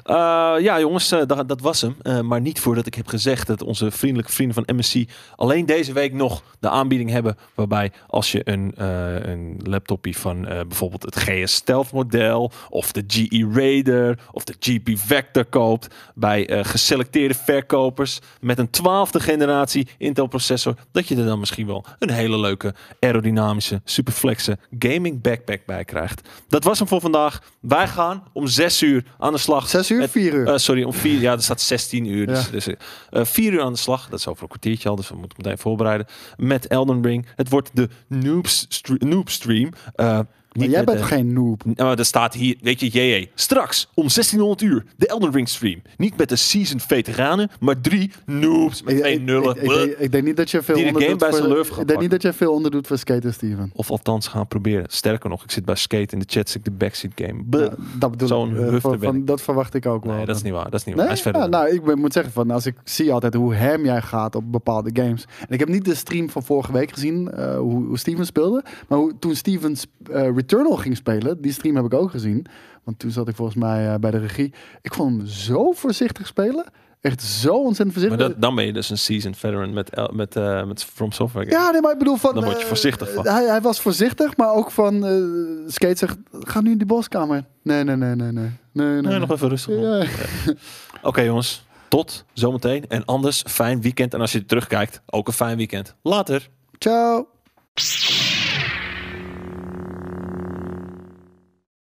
A: Eh, ja, jongens, eh, da- dat was hem. Eh, maar niet voordat ik heb gezegd dat onze vriendelijke vrienden van MSC alleen deze week nog de aanbieding hebben. Waarbij als je een, eh, een laptopje van eh, bijvoorbeeld het GS Stealth model of de GE Raider of de GP Vector koopt. Bij eh, geselecteerde verkopers met een 12e generatie Intel processor. Dat je er dan misschien wel een hele leuke aerodynamische, superflexe gaming backpack bij krijgt. Dat was hem voor vandaag. Wij gaan om 6 uur aan de slag.
C: Zes uur,
A: met-
C: vier uur.
A: eh, sorry, om 4 Ja, er staat 16 uur. Dus,
C: Ja.
A: dus, eh, eh, vier uur aan de slag. Dat is over een kwartiertje al, dus we moeten meteen voorbereiden. Met Elden Ring. Het wordt de noob, stre- noob stream. Eh,
C: Maar
A: niet
C: jij
A: met,
C: bent
A: eh,
C: geen noob.
A: nou, maar er staat hier, weet je, JJ. Straks om 1600 uur de Elden Ring stream. Niet met de seasoned veteranen, maar drie noobs met
C: Ik-
A: twee
C: ik-
A: nullen.
C: Ik, ik denk- ik denk niet dat je veel
A: Die de
C: onderdoet
A: game bij zijn
C: voor-
A: lurf gaat
C: Ik denk
A: pakken.
C: niet dat je veel onderdoet voor Skater Steven.
A: Of althans gaan proberen. Sterker nog, ik zit bij Skate in de chat, zit ik de backseat game. Bleh.
C: Ja, dat bedoel
A: Zo'n
C: ik. Eh,
A: hufter
C: van-
A: ben
C: van-
A: ik.
C: dat verwacht ik ook wel.
A: Nee, dat is niet waar. Dat is niet waar.
C: Nee?
A: Hij is verder.
C: Ja, nou, ik ben- moet zeggen, van, als ik zie altijd hoe hem jij gaat op bepaalde games. En ik heb niet de stream van vorige week gezien, eh, hoe, hoe Steven speelde. Maar hoe, toen Steven eh, Returnal ging spelen, die stream heb ik ook gezien. Want toen zat ik volgens mij eh, bij de regie. Ik vond hem zo voorzichtig spelen. Echt zo ontzettend
A: maar
C: voorzichtig.
A: dat, dan ben je dus een seasoned veteran met, El- met, eh, met From Software. game.
C: Ja, nee, maar ik bedoel van...
A: Dan word je
C: eh,
A: voorzichtig van.
C: Hij, hij was voorzichtig, maar ook van... eh, Skate zegt, ga nu in die boskamer. in." Nee, nee, nee, nee, nee. Nee, nee,
A: Nee,
C: nee.
A: nog even rustig. man.
C: Ja.
A: Oké, jongens. Tot zometeen. En anders, fijn weekend. En als je terugkijkt, ook een fijn weekend. Later.
C: Ciao.